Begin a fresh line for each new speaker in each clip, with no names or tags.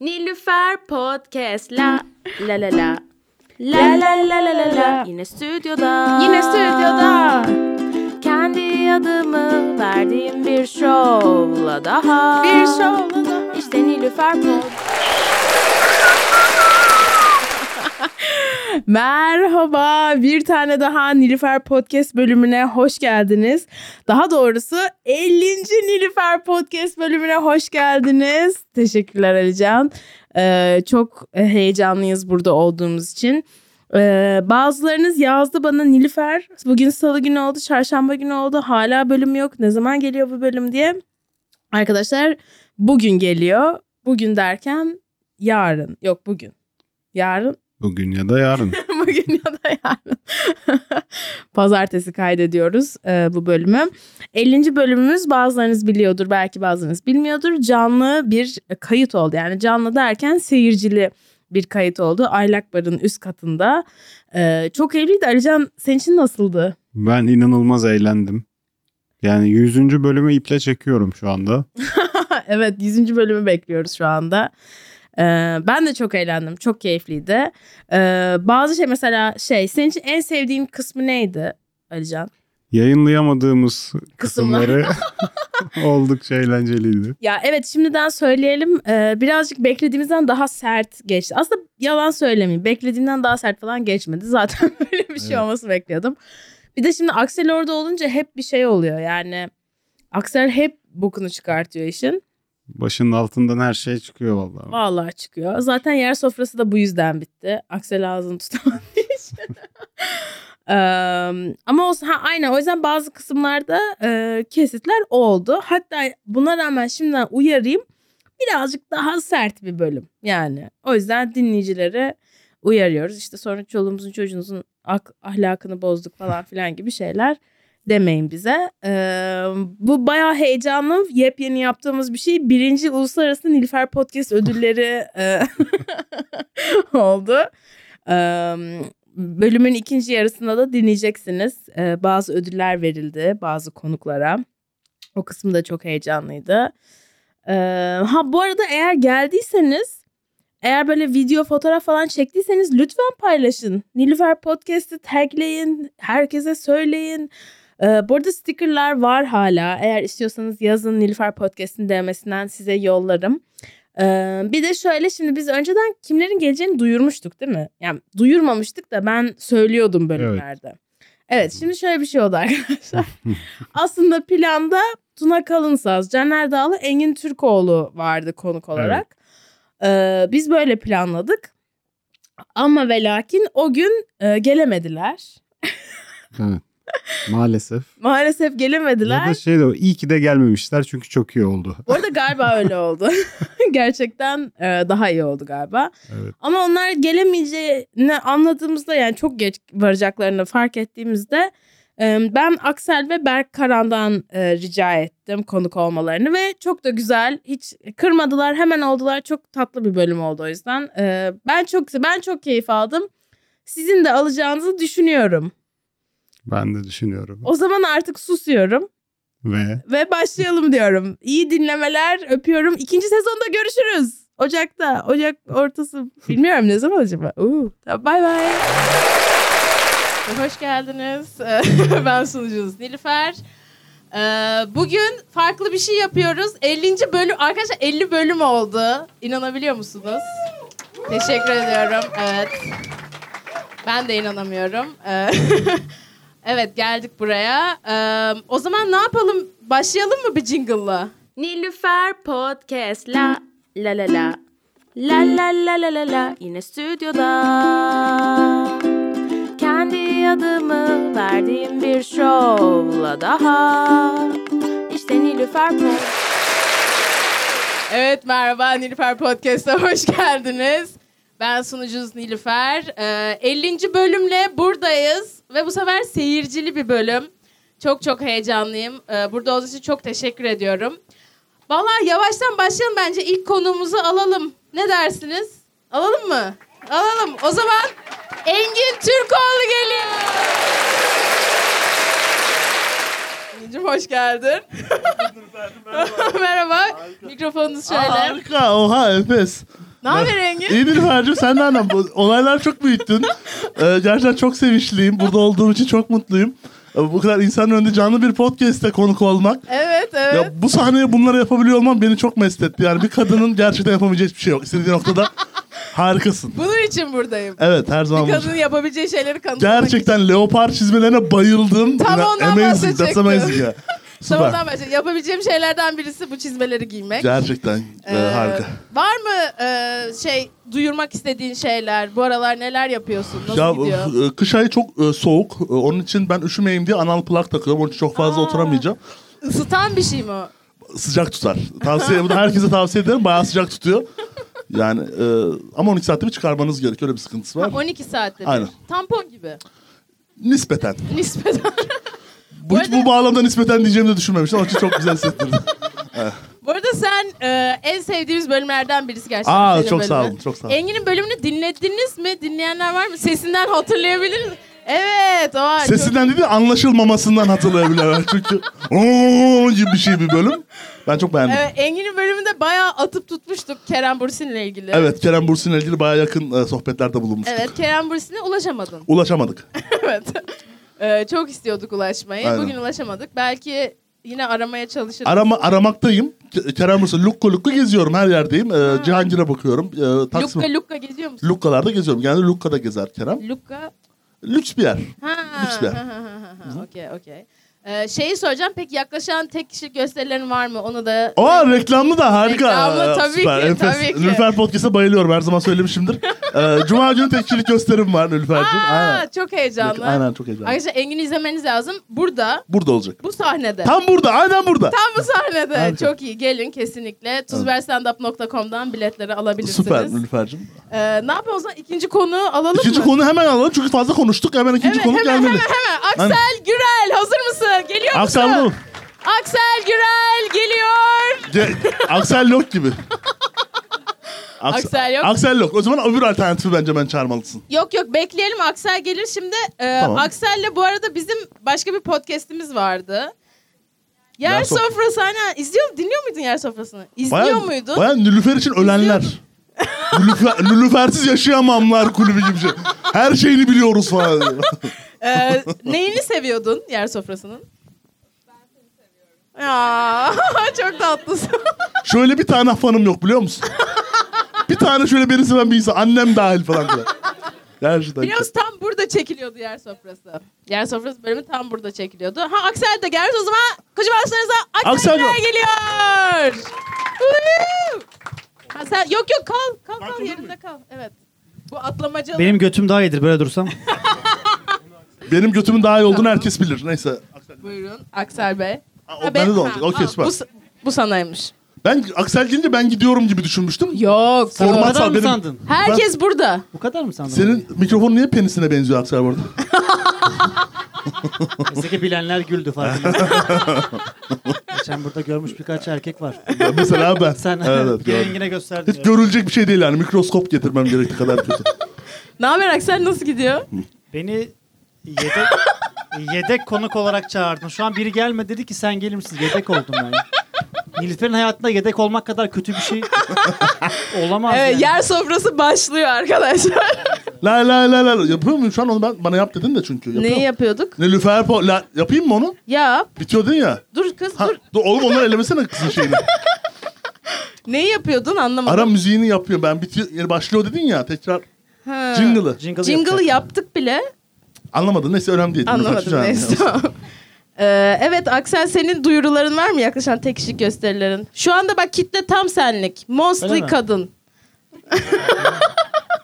Nilüfer Podcast la la la la. La la la la la la. Yine stüdyoda.
Yine stüdyoda.
Kendi adımı verdiğim bir şovla daha.
Bir şovla daha.
İşte Nilüfer Podcast.
Merhaba, bir tane daha Nilüfer Podcast bölümüne hoş geldiniz. Daha doğrusu 50. Nilüfer Podcast bölümüne hoş geldiniz. Teşekkürler Alican. Ee, çok heyecanlıyız burada olduğumuz için. Ee, bazılarınız yazdı bana Nilüfer bugün salı günü oldu, çarşamba günü oldu. Hala bölüm yok. Ne zaman geliyor bu bölüm diye. Arkadaşlar bugün geliyor. Bugün derken yarın. Yok bugün. Yarın
Bugün ya da yarın.
Bugün ya da yarın. Pazartesi kaydediyoruz e, bu bölümü. 50. bölümümüz bazılarınız biliyordur belki bazılarınız bilmiyordur. Canlı bir kayıt oldu. Yani canlı derken seyircili bir kayıt oldu. Aylak Bar'ın üst katında. E, çok evliydi. Alican senin için nasıldı?
Ben inanılmaz eğlendim. Yani 100. bölümü iple çekiyorum şu anda.
evet 100. bölümü bekliyoruz şu anda. Ee, ben de çok eğlendim. Çok keyifliydi. Ee, bazı şey mesela şey senin için en sevdiğin kısmı neydi Alican?
Yayınlayamadığımız
Kısımlar.
kısımları oldukça eğlenceliydi.
Ya evet şimdiden söyleyelim Ee, birazcık beklediğimizden daha sert geçti. Aslında yalan söylemeyeyim beklediğimden daha sert falan geçmedi. Zaten böyle bir şey
Evet.
olması bekliyordum. Bir de şimdi Aksel orada olunca hep bir şey oluyor yani. Aksel hep bokunu çıkartıyor işin.
Başının altından her şey çıkıyor vallahi.
Vallahi çıkıyor. Zaten yer sofrası da bu yüzden bitti. Aksel ağzını tutamadığı için. Eee, ama olsun ha, aynen o yüzden bazı kısımlarda eee, kesitler oldu. Hatta buna rağmen şimdiden uyarayım birazcık daha sert bir bölüm yani. O yüzden dinleyicilere uyarıyoruz. İşte sonra çoluğumuzun çocuğunuzun ak- ahlakını bozduk falan filan gibi şeyler demeyin bize. Eee, bu bayağı heyecanlı yepyeni yaptığımız bir şey. Birinci Uluslararası Nilüfer Podcast ödülleri eee, oldu. Eee Bölümün ikinci yarısında da dinleyeceksiniz. Ee, bazı ödüller verildi bazı konuklara. O kısmı da çok heyecanlıydı. Ee, ha bu arada eğer geldiyseniz, eğer böyle video fotoğraf falan çektiyseniz lütfen paylaşın. Nilüfer Podcast'ı tagleyin, herkese söyleyin. Ee, bu arada stickerlar var hala. Eğer istiyorsanız yazın Nilüfer Podcast'ın DM'sinden size yollarım. Ee, bir de şöyle şimdi biz önceden kimlerin geleceğini duyurmuştuk değil mi? Yani duyurmamıştık da ben söylüyordum bölümlerde. Evet, şimdi şöyle bir şey oldu arkadaşlar. Aslında planda Tuna Kalınsaz, Caner Dağlı, Engin Türkoğlu vardı konuk olarak. Ee, biz böyle planladık. Ama ve lakin o gün e, gelemediler.
Evet. Maalesef.
Maalesef
Ya
gelemediler.
da şey de o, iyi ki de gelmemişler çünkü çok iyi oldu.
Bu arada galiba öyle oldu. Gerçekten e, daha iyi oldu galiba.
Evet.
Ama onlar gelemeyeceğini anladığımızda yani çok geç varacaklarını fark ettiğimizde e, ben Aksel ve Berk Karan'dan e, rica ettim konuk olmalarını ve çok da güzel hiç kırmadılar hemen oldular çok tatlı bir bölüm oldu o yüzden E, ben çok ben çok keyif aldım sizin de alacağınızı düşünüyorum
Ben de düşünüyorum.
o zaman artık susuyorum
Ve
ve başlayalım diyorum. İyi dinlemeler öpüyorum. İkinci sezonda görüşürüz. Ocak'ta. Ocak ortası. Bilmiyorum ne zaman acaba. Uu, tamam, bay bay. Hoş geldiniz. ben sunucunuz Nilüfer. Ee, Bugün farklı bir şey yapıyoruz. 50. bölüm. Arkadaşlar 50 bölüm oldu. İnanabiliyor musunuz? Teşekkür ediyorum. Evet. Ben de inanamıyorum. Ee, evet geldik buraya. Ee, O zaman ne yapalım? Başlayalım mı bir jingle'la?
Nilüfer Podcast la la la la. La la la la la la. Yine stüdyoda. Kendi adımı verdiğim bir şovla daha. İşte Nilüfer Podcast.
Evet merhaba Nilüfer Podcast'a hoş geldiniz. Ben sunucunuz Nilüfer. Ee, 50. bölümle buradayız ve bu sefer seyircili bir bölüm. Çok çok heyecanlıyım. Ee, burada olduğunuz için çok teşekkür ediyorum. Valla yavaştan başlayalım bence ilk konuğumuzu alalım. Ne dersiniz? Alalım mı? Alalım. O zaman Engin Türkoğlu geliyor. Engin'cim hoş geldin. Merhaba. Mikrofonunuz şöyle.
Harika oha enfes.
Ne haber Engin?
İyidir Mercim sen de annem. Bu Olaylar çok büyüttün. Ee, gerçekten çok sevinçliyim. Burada olduğum için çok mutluyum. Ee, bu kadar insanın önünde canlı bir podcast'te konuk olmak.
Evet evet.
Ya bu sahneye bunları yapabiliyor olmam beni çok mest etti. Yani bir kadının gerçekten yapamayacağı hiçbir şey yok. İstediği noktada harikasın.
Bunun için buradayım.
Evet her zaman.
Bir
bu-
kadının yapabileceği şeyleri kanıtlamak için.
Gerçekten leopar çizmelerine bayıldım.
Tam
Ya,
ondan
amazing. That's
bahsedecektim.
amazing ya.
Tam
Süper.
ondan bahsedeyim. Yapabileceğim şeylerden birisi bu çizmeleri giymek.
Gerçekten e,
Ee,
harika.
Var mı e, şey duyurmak istediğin şeyler? Bu aralar neler yapıyorsun? Nasıl
Ya
gidiyor?
e, kış ayı çok e, soğuk. E, Onun için ben üşümeyeyim diye anal plak takıyorum. Onun için çok fazla
Aa.
oturamayacağım.
Isıtan bir şey mi o?
Sıcak tutar. Tavsiye bunu herkese tavsiye ederim. Bayağı sıcak tutuyor. Yani e, ama 12 saatte bir çıkarmanız gerekiyor. Öyle bir sıkıntısı
Ha,
var.
12 saatte bir.
Aynen.
Tampon gibi.
Nispeten.
Nispeten.
Bu, hiç
arada-
bu bağlamda nispeten diyeceğimi de düşünmemiştim. Onun için çok güzel hissettirdi.
Bu arada sen e, en sevdiğimiz bölümlerden birisi gerçekten.
Aa,
senin
çok sağ
bölümün.
olun, çok sağ olun.
Engin'in bölümünü dinlediniz mi? Dinleyenler var mı? Sesinden hatırlayabilir mi? Evet. O çok-
Sesinden dedi anlaşılmamasından hatırlayabilirler. Çünkü "Oo" gibi bir şey bir bölüm. Ben çok beğendim. Evet.
Evet, Engin'in bölümünde bayağı atıp tutmuştuk Kerem Bursin'le ilgili.
Kerem Bursin'le ilgili bayağı yakın e, sohbetlerde bulunmuştuk.
Evet Kerem Bursin'e ulaşamadın.
Ulaşamadık.
evet. Ee, çok istiyorduk ulaşmayı.
Aynen.
Bugün ulaşamadık. Belki yine aramaya çalışırız.
Arama, aramaktayım. Ke- Kerem Bursin, Lukko Lukko geziyorum her yerdeyim. Ee, Cihangir'e bakıyorum. Ee, Taksim.
Lukka Lukka geziyor musun?
Lukkalarda geziyorum. Genelde Lukka'da gezer Kerem.
Lukka.
Lüks bir yer.
Ha.
Lüks bir yer.
ha, ha, ha, ha. Okey okey. Ee, şeyi soracağım peki yaklaşan tek kişilik gösterilerin var mı? Onu da
Aa reklamlı da harika.
Reklamlı,
Ee,
tabii
süper,
ki,
enfes.
tabii ki.
Nülfer Podcast'a bayılıyorum her zaman söylemişimdir. Ee, Cuma günü tek kişilik gösterim var Nülfer'cim. Aynen.
Aa, çok heyecanlı.
Aynen çok heyecanlı.
Ayrıca Engin'i izlemeniz lazım. Burada,
Burada olacak.
bu sahnede.
Tam burada aynen burada.
Tam bu sahnede.
Harika.
Çok iyi. Gelin kesinlikle. Tuzberstandup.com'dan biletleri alabilirsiniz.
Süper Nülfer'cim.
Ee, ne yapalım o zaman? İkinci konu alalım
İkinci
mı?
konu hemen alalım çünkü fazla konuştuk. Hemen ikinci
Evet,
konu
hemen,
gelmeli.
hemen hemen. Aksel Gürel hazır mısın? Geliyor musun?
Aksel bu.
Aksel Gürel geliyor.
Ge- Aksel Lok gibi. Aks-
Aksel yok.
Aksel Lok. O zaman öbür alternatifi bence ben çağırmalısın.
Yok yok bekleyelim Aksel gelir şimdi. Ee,
Tamam.
Aksel'le bu arada bizim başka bir podcast'imiz vardı. Yer,
Yer Sofra-
sofrası hani izliyor dinliyor muydun yer sofrasını? İzliyor muydun?
Baya Nülüfer için ölenler. Nülüfer, Nülüfer'siz yaşayamamlar kulübü gibi bir şey. Her şeyini biliyoruz falan.
Ee, neyini seviyordun yer sofrasının? Ben seni seviyorum. Ya çok tatlısın.
şöyle bir tane fanım yok biliyor musun? bir tane şöyle beni seven bir insan. Annem dahil falan filan. Gerçekten.
Biliyor musun tam burada çekiliyordu yer sofrası. Yer sofrası bölümü tam burada çekiliyordu. Ha Aksel de gelmiş o zaman kocaman alkışlarınızla Aksel
Aksel
Güler
yok.
geliyor. Woo! ha, sen, yok yok kal kal
Ben
kal
kalır
yerinde
mıyım?
kal. Evet. Bu atlamacalı.
Benim götüm daha iyidir böyle dursam.
Benim götümün daha iyi olduğunu herkes bilir. Neyse.
Buyurun Aksel Bey.
Ha,
Ha,
o
be-
bende de
ha,
olacak. Okey
ha,
süper.
Bu, s- bu sanaymış.
Ben Aksel gelince ben gidiyorum gibi düşünmüştüm.
Yok.
Sen bu
Format
kadar mı
benim-
sandın?
Herkes burada.
Bu kadar mı sandın?
Senin mikrofon niye penisine benziyor Aksel bu arada?
Mesleki bilenler güldü farkında. Geçen burada görmüş birkaç erkek var.
Ya Mesela ben.
Sen
Evet, evet, gördüm.
yengine gösterdin.
Hiç görülecek bir şey değil yani. Mikroskop getirmem gerektiği kadar kötü.
Ne haber Aksel nasıl gidiyor?
Beni yedek yedek konuk olarak çağırdın. Şu an biri gelme dedi ki sen gelir misin? Yedek oldum ben. Nilüfer'in hayatında yedek olmak kadar kötü bir şey olamaz.
Evet,
yani.
Ee, yer sofrası başlıyor arkadaşlar.
la la la la. la. Yapıyor muyum şu an onu ben? Bana yap dedin de çünkü. Yapıyorum.
Neyi yapıyorduk?
Nilüfer po- la- yapayım mı onu?
Yap.
Bitiyor dedin ya.
Dur kız
Ha,
dur.
dur, oğlum onları elemesene kızın şeyini.
Neyi yapıyordun anlamadım.
Ara müziğini yapıyor ben. Bitiyor, yani başlıyor dedin ya tekrar.
Ha.
Jingle'ı.
Jingle
Jingle'ı
yapacak.
yaptık bile.
Anlamadın neyse önemli değil.
Anlamadım
Nilüfer, şu
neyse.
an-
Ee, evet Aksel senin duyuruların var mı yaklaşan tek kişilik gösterilerin? Şu anda bak kitle tam senlik. Mostly
Öyle mi?
kadın.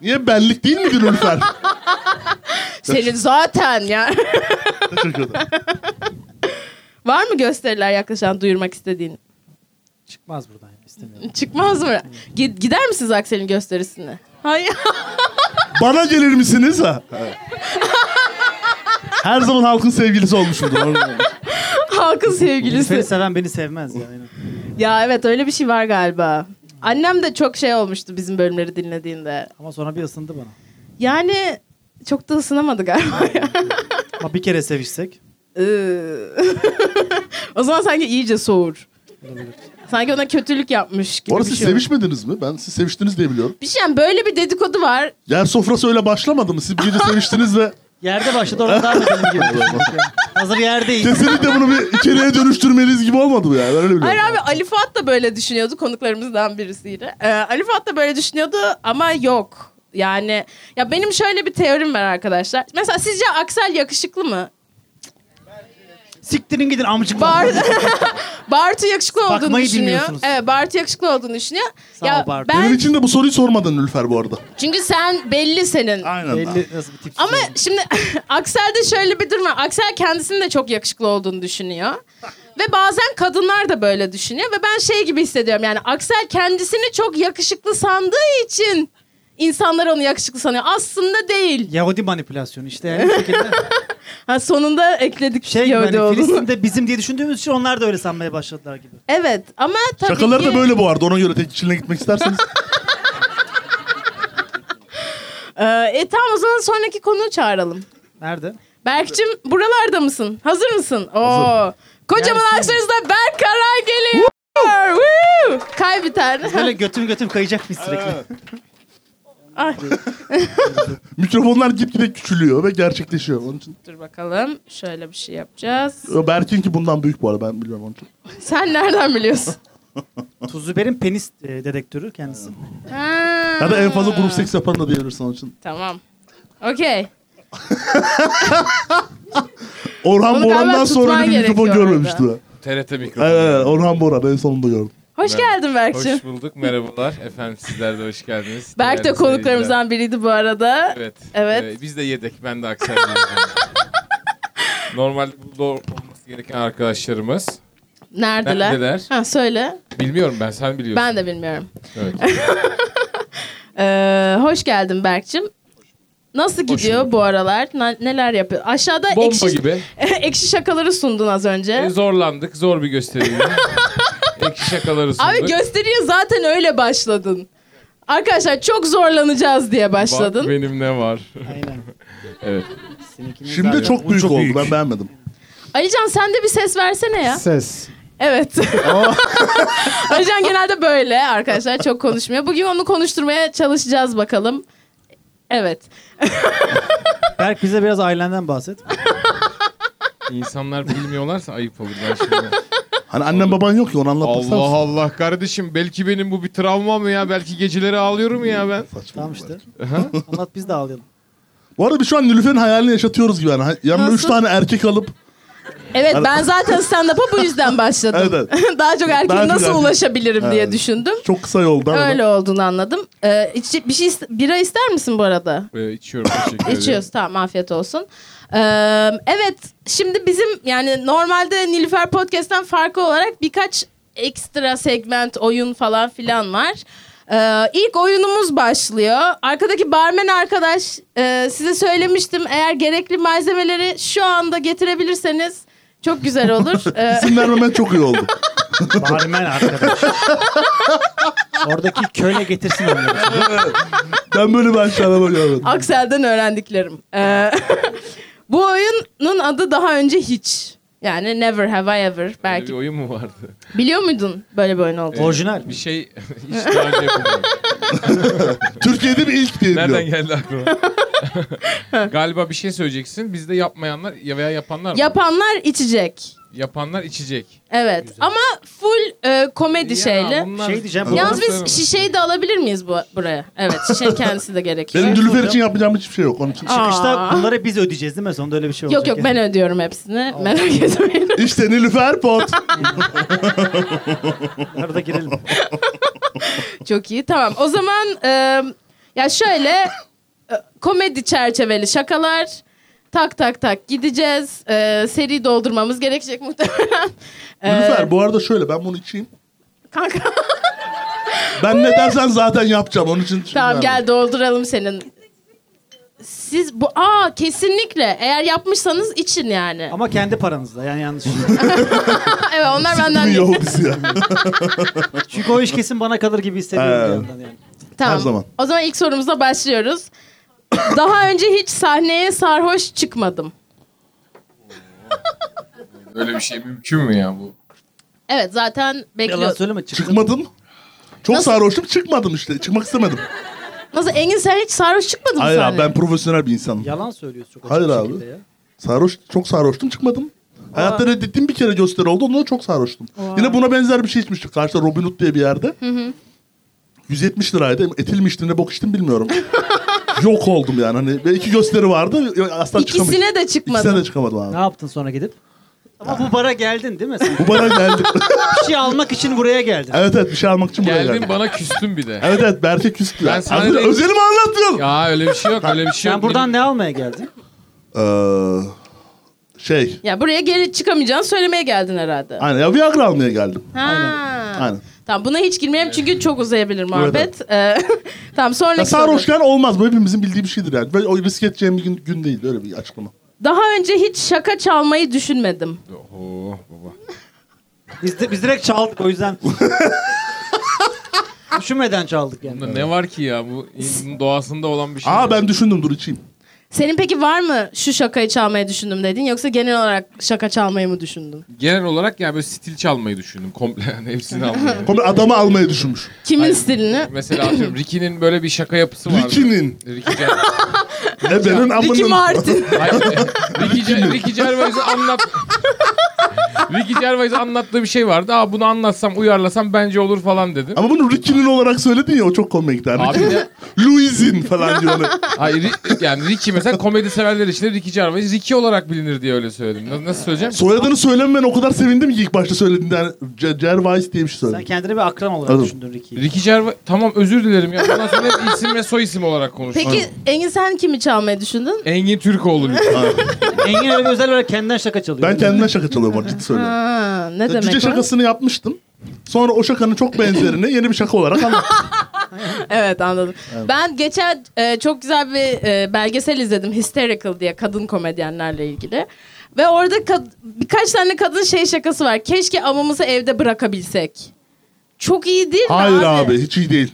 Niye benlik değil midir Nilüfer?
Senin zaten ya.
Teşekkür ederim.
var mı gösteriler yaklaşan duyurmak istediğin?
Çıkmaz buradan ya, istemiyorum.
Çıkmaz mı? Gi- gider misiniz Aksel'in gösterisine? Hayır.
Bana gelir misiniz ha? Evet. Her zaman halkın sevgilisi olmuşumdur. Orada-
Halkın sevgilisi.
Nilüfer'i seven beni sevmez ya. aynen.
ya evet öyle bir şey var galiba. Annem de çok şey olmuştu bizim bölümleri dinlediğinde.
Ama sonra bir ısındı bana.
Yani çok da ısınamadı galiba ya.
Ama bir kere sevişsek.
Iıı. o zaman sanki iyice soğur. Sanki ona kötülük yapmış gibi
Bu arada
bir
siz
şey.
sevişmediniz mi? Ben siz seviştiniz diye biliyorum.
Bir şey yani böyle bir dedikodu var.
Yer sofrası öyle başlamadı mı? Siz bir gece seviştiniz ve
Yerde başladı oradan devam edelim gibi. Hazır yerdeyiz.
kesinlikle bunu bir içeriğe dönüştürmeliyiz gibi olmadı bu yani. Ben öyle biliyorum.
Hayır abi Ali Fuat da böyle düşünüyordu konuklarımızdan birisiyle. Ee, Ali Fuat da böyle düşünüyordu ama yok. Yani ya benim şöyle bir teorim var arkadaşlar. Mesela sizce Aksel yakışıklı mı?
Siktirin gidin amcık.
Bar Bartu yakışıklı olduğunu
Bakmayı
düşünüyor.
bilmiyorsunuz.
Evet Bartu yakışıklı olduğunu düşünüyor.
Sağ ol
ya
Bartu.
Benim
ben
için de bu soruyu sormadın Nülfer bu arada.
çünkü sen belli senin.
Aynen.
Belli nasıl bir tip.
Ama şimdi Aksel'de şöyle bir durum var. Aksel kendisinin de çok yakışıklı olduğunu düşünüyor. Ve bazen kadınlar da böyle düşünüyor. Ve ben şey gibi hissediyorum yani Aksel kendisini çok yakışıklı sandığı için insanlar onu yakışıklı sanıyor. Aslında değil.
Yahudi manipülasyonu işte. Yani bir şekilde
Ha, sonunda ekledik
şey
şey
gibi
Yahudi
hani
olduğunu.
Filistin'de bizim diye düşündüğümüz için onlar da öyle sanmaya başladılar gibi.
Evet ama tabii
Şakalar
ki...
da böyle bu arada. Ona göre tek kişiliğine gitmek isterseniz.
Ee, e, tamam o zaman sonraki konuğu çağıralım.
Nerede?
Berk'cim buralarda mısın? Hazır mısın? Oo. Kocaman
Gelsin.
alkışlarınızla Berk Karay geliyor. Woo! Kay bir tane.
Böyle götüm götüm kayacak mıyız sürekli?
Ay.
Mikrofonlar gitgide küçülüyor ve gerçekleşiyor. Onun için
Dur bakalım. Şöyle bir şey yapacağız.
Berk'in ki bundan büyük bu arada ben bilmiyorum onun için.
Sen nereden biliyorsun?
Tuzlu Ber'in penis e, dedektörü kendisi.
Ha.
Ya da en fazla grup seks yapan da diyebilirsin onun için.
Tamam. Okey. Onu
Orhan
galiba
Boran'dan sonra
tutman
bir mikrofon
gerekiyor
görmemişti ben.
TRT mikrofonu.
Evet, evet, Orhan Boran en sonunda gördüm.
Hoş geldin Berk'cim.
Hoş bulduk, merhabalar. Efendim sizler de hoş geldiniz.
Berk de
Değerli seyirciler.
konuklarımızdan biriydi bu arada.
Evet.
Evet.
Ee, biz de yedek, ben de aksaylıyım. Normal bu doğru olması gereken arkadaşlarımız.
Neredeler?
Neredeler?
Ha söyle.
Bilmiyorum ben, sen biliyorsun.
Ben de bilmiyorum.
Evet.
Ee, hoş geldin Berk'cim. Nasıl gidiyor bu aralar? Na- neler yapıyor? Aşağıda
Bomba
ekşi,
gibi.
ekşi şakaları sundun az önce.
Ee, zorlandık, zor bir gösteriydi. Ekşi şakaları sunduk.
Abi gösteriye zaten öyle başladın. Arkadaşlar çok zorlanacağız diye başladın.
Bak benim ne var.
Aynen.
Evet.
Seninkini
Şimdi
zaten-
çok
Bu
büyük oldu
büyük.
ben beğenmedim.
Alican sen de bir ses versene ya.
Ses.
Evet. Alican genelde böyle arkadaşlar çok konuşmuyor. Bugün onu konuşturmaya çalışacağız bakalım. Evet.
Berk bize biraz ailenden bahset.
İnsanlar bilmiyorlarsa ayıp olur. Ben şimdi...
Hani annen baban yok ya onu anlatmak
Allah Allah kardeşim belki benim bu bir travma mı ya? Belki geceleri ağlıyorum ya ben.
Tamam işte. Anlat biz de ağlayalım.
Bu arada biz şu an Nilüfer'in hayalini yaşatıyoruz gibi. Yani yanına
Nasıl?
üç tane erkek alıp
Evet ben zaten stand-up'a bu yüzden başladım.
Evet,
Daha çok erkeğe
Daha çok
nasıl
erkek.
ulaşabilirim diye
Evet.
düşündüm.
çok kısa yoldan.
Öyle olduğunu anladım. Ee, içecek bir şey iste- bira ister misin bu arada?
Ee, içiyorum teşekkür ederim.
İçiyoruz tamam afiyet olsun. Ee, evet şimdi bizim yani normalde Nilüfer Podcast'ten farklı olarak birkaç ekstra segment oyun falan filan var. Ee, ilk oyunumuz başlıyor. Arkadaki barmen arkadaş e, size söylemiştim eğer gerekli malzemeleri şu anda getirebilirseniz çok güzel olur. Ee,
İsim vermemen çok iyi oldu.
Barmen arkadaş. Oradaki köle getirsin onları.
ben böyle bir aşağılama görmedim.
Aksel'den öğrendiklerim. Ee, bu oyunun adı daha önce hiç. Yani Never Have I Ever
Böyle bir
belki.
oyun mu vardı?
Biliyor muydun böyle bir oyun olduğunu?
Orijinal.
Bir şey hiç daha önce yapılmadı.
Türkiye'de bir ilk diye
Nereden
biliyorum.
geldi aklına? Galiba bir şey söyleyeceksin. Bizde yapmayanlar ya veya yapanlar mı?
Yapanlar içecek.
Yapanlar içecek.
Evet ama full e, komedi
Ya
şeyli.
bunlar-
Şey diyeceğim,
Yalnız
Doğru.
biz şişeyi de alabilir miyiz bu buraya? Evet şişenin kendisi de gerekiyor.
Benim Nilüfer için yapacağım hiçbir şey yok. Onun için
Çıkışta
Aa.
bunları biz ödeyeceğiz değil mi? Sonunda öyle bir şey olacak.
Yok yok
yani.
ben ödüyorum hepsini. Merak etmeyin.
İşte Nilüfer pot.
Arada girelim.
Çok iyi tamam. O zaman e, ya şöyle e, komedi çerçeveli şakalar. Tak tak tak gideceğiz. E, seri doldurmamız gerekecek muhtemelen. E,
Nilüfer bu arada şöyle ben bunu içeyim.
Kanka
Ben ne dersen zaten yapacağım onun için.
tamam
Yani.
gel dolduralım senin. Siz bu aa kesinlikle eğer yapmışsanız için yani.
Ama kendi paranızla yani yanlış.
Ha, evet onlar benden
Kimin
değil.
yok bizi ya.
Çünkü o iş kesin bana kalır gibi hissediyorum bir
Evet.
yandan yani.
Tamam.
Her zaman.
O zaman ilk sorumuzla başlıyoruz. Daha önce hiç sahneye sarhoş çıkmadım.
Öyle bir şey mümkün mü ya bu?
Evet zaten
Yalan
bekliyorsun.
söyleme çıktın.
Çıkmadım. Çok
Nasıl?
sarhoştum çıkmadım işte. Çıkmak istemedim.
Nasıl Engin sen hiç sarhoş çıkmadın mı
Hayır abi
sahneye?
ben profesyonel bir insanım.
Yalan söylüyorsun çok açık
Hayır
bir
abi.
şekilde ya.
Sarhoş, çok sarhoştum çıkmadım. Hayatta reddettiğim bir kere gösteri oldu. Onda da çok sarhoştum. Yine buna benzer bir şey içmiştik. Karşıda Robin Hood diye bir yerde. 170 liraydı. Etilmişti ne bok içtim bilmiyorum. Yok oldum yani. Hani ve iki gösteri vardı. Asla çıkamadım.
İkisine de çıkmadın.
İkisine de çıkamadım abi.
Ne yaptın sonra gidip? Ama bu bara geldin değil mi? Sen
Bu bana geldi.
bir şey almak için buraya geldin.
evet evet bir şey almak için buraya geldim.
Geldin bana küstün bir de.
Evet evet Berke küstü.
Ben
Ben
sana
sana
dedim-
özelimi anlatıyorum.
Ya öyle bir şey yok öyle bir şey
Sen
yok.
buradan ne almaya geldin?
Ee, şey.
Ya buraya geri çıkamayacağını söylemeye geldin herhalde.
Aynen ya Viagra almaya geldim.
Ha.
Aynen.
Tamam buna hiç girmeyelim çünkü çok uzayabilir muhabbet. Ee, tamam
Ya
sonraki soru.
sarhoşken olmaz. Bu hepimizin bildiği bir şeydir yani. Böyle o risk edeceğim bir gün, gün değil. Öyle bir açıklama.
Daha önce hiç şaka çalmayı düşünmedim.
Oho baba.
Biz, de, biz direkt çaldık o yüzden. Düşünmeden çaldık yani.
Bunda ne var ki ya bu insanın doğasında olan bir şey.
Aa
yok.
ben düşündüm dur içeyim.
Senin peki var mı şu şakayı çalmayı düşündüm dedin yoksa genel olarak şaka çalmayı mı düşündün?
Genel olarak yani böyle stil çalmayı düşündüm komple yani hepsini almayı.
Komple adamı almayı düşünmüş.
Kimin stilini?
Mesela atıyorum Ricky'nin böyle bir şaka yapısı vardı.
Ricky'nin.
Ricky Gervais.
Ne benim
Ricky
amının.
Martin.
Hayır, Ricky, Ger- Ricky Gervais'e anlat. Ricky Gervais'e anlattığı bir şey vardı. Aa bunu anlatsam, uyarlasam bence olur falan dedim.
Ama bunu Ricky'nin olarak söyledin ya o çok komikti. Yani.
Abi
Ricky-
ne?
Louis'in falan diyor. hani.
Hayır, Ri- yani Ricky mesela komedi severler için de Ricky Gervais Ricky olarak bilinir diye öyle söyledim. Na- Nasıl söyleyeceğim?
Soyadını söylememen o kadar sevindim ki ilk başta söylediğinde. Yani Cer- Gervais diye bir şey
Sen
söyledim.
kendini bir akran olarak
Oğlum.
düşündün Ricky'yi.
Ricky Gervais... Tamam özür dilerim ya. Bundan sonra hep isim ve soy isim olarak konuşuyorum.
Peki Engin sen kimi çalmayı düşündün?
Engin Türkoğlu bir.
Engin öyle bir özel olarak kendinden şaka çalıyor.
Ben kendimden şaka çalıyorum var ciddi söylüyorum.
Ha, ne
Ya,
demek
Cüce
o?
şakasını yapmıştım. Sonra o şakanın çok benzerini yeni bir şaka olarak anlattım.
Evet anladım. Ben geçen e, çok güzel bir e, belgesel izledim Hysterical diye kadın komedyenlerle ilgili. Ve orada kad- birkaç tane kadın şey şakası var. Keşke amamızı evde bırakabilsek. Çok iyi değil mi
Hayır
abi?
abi hiç iyi değil.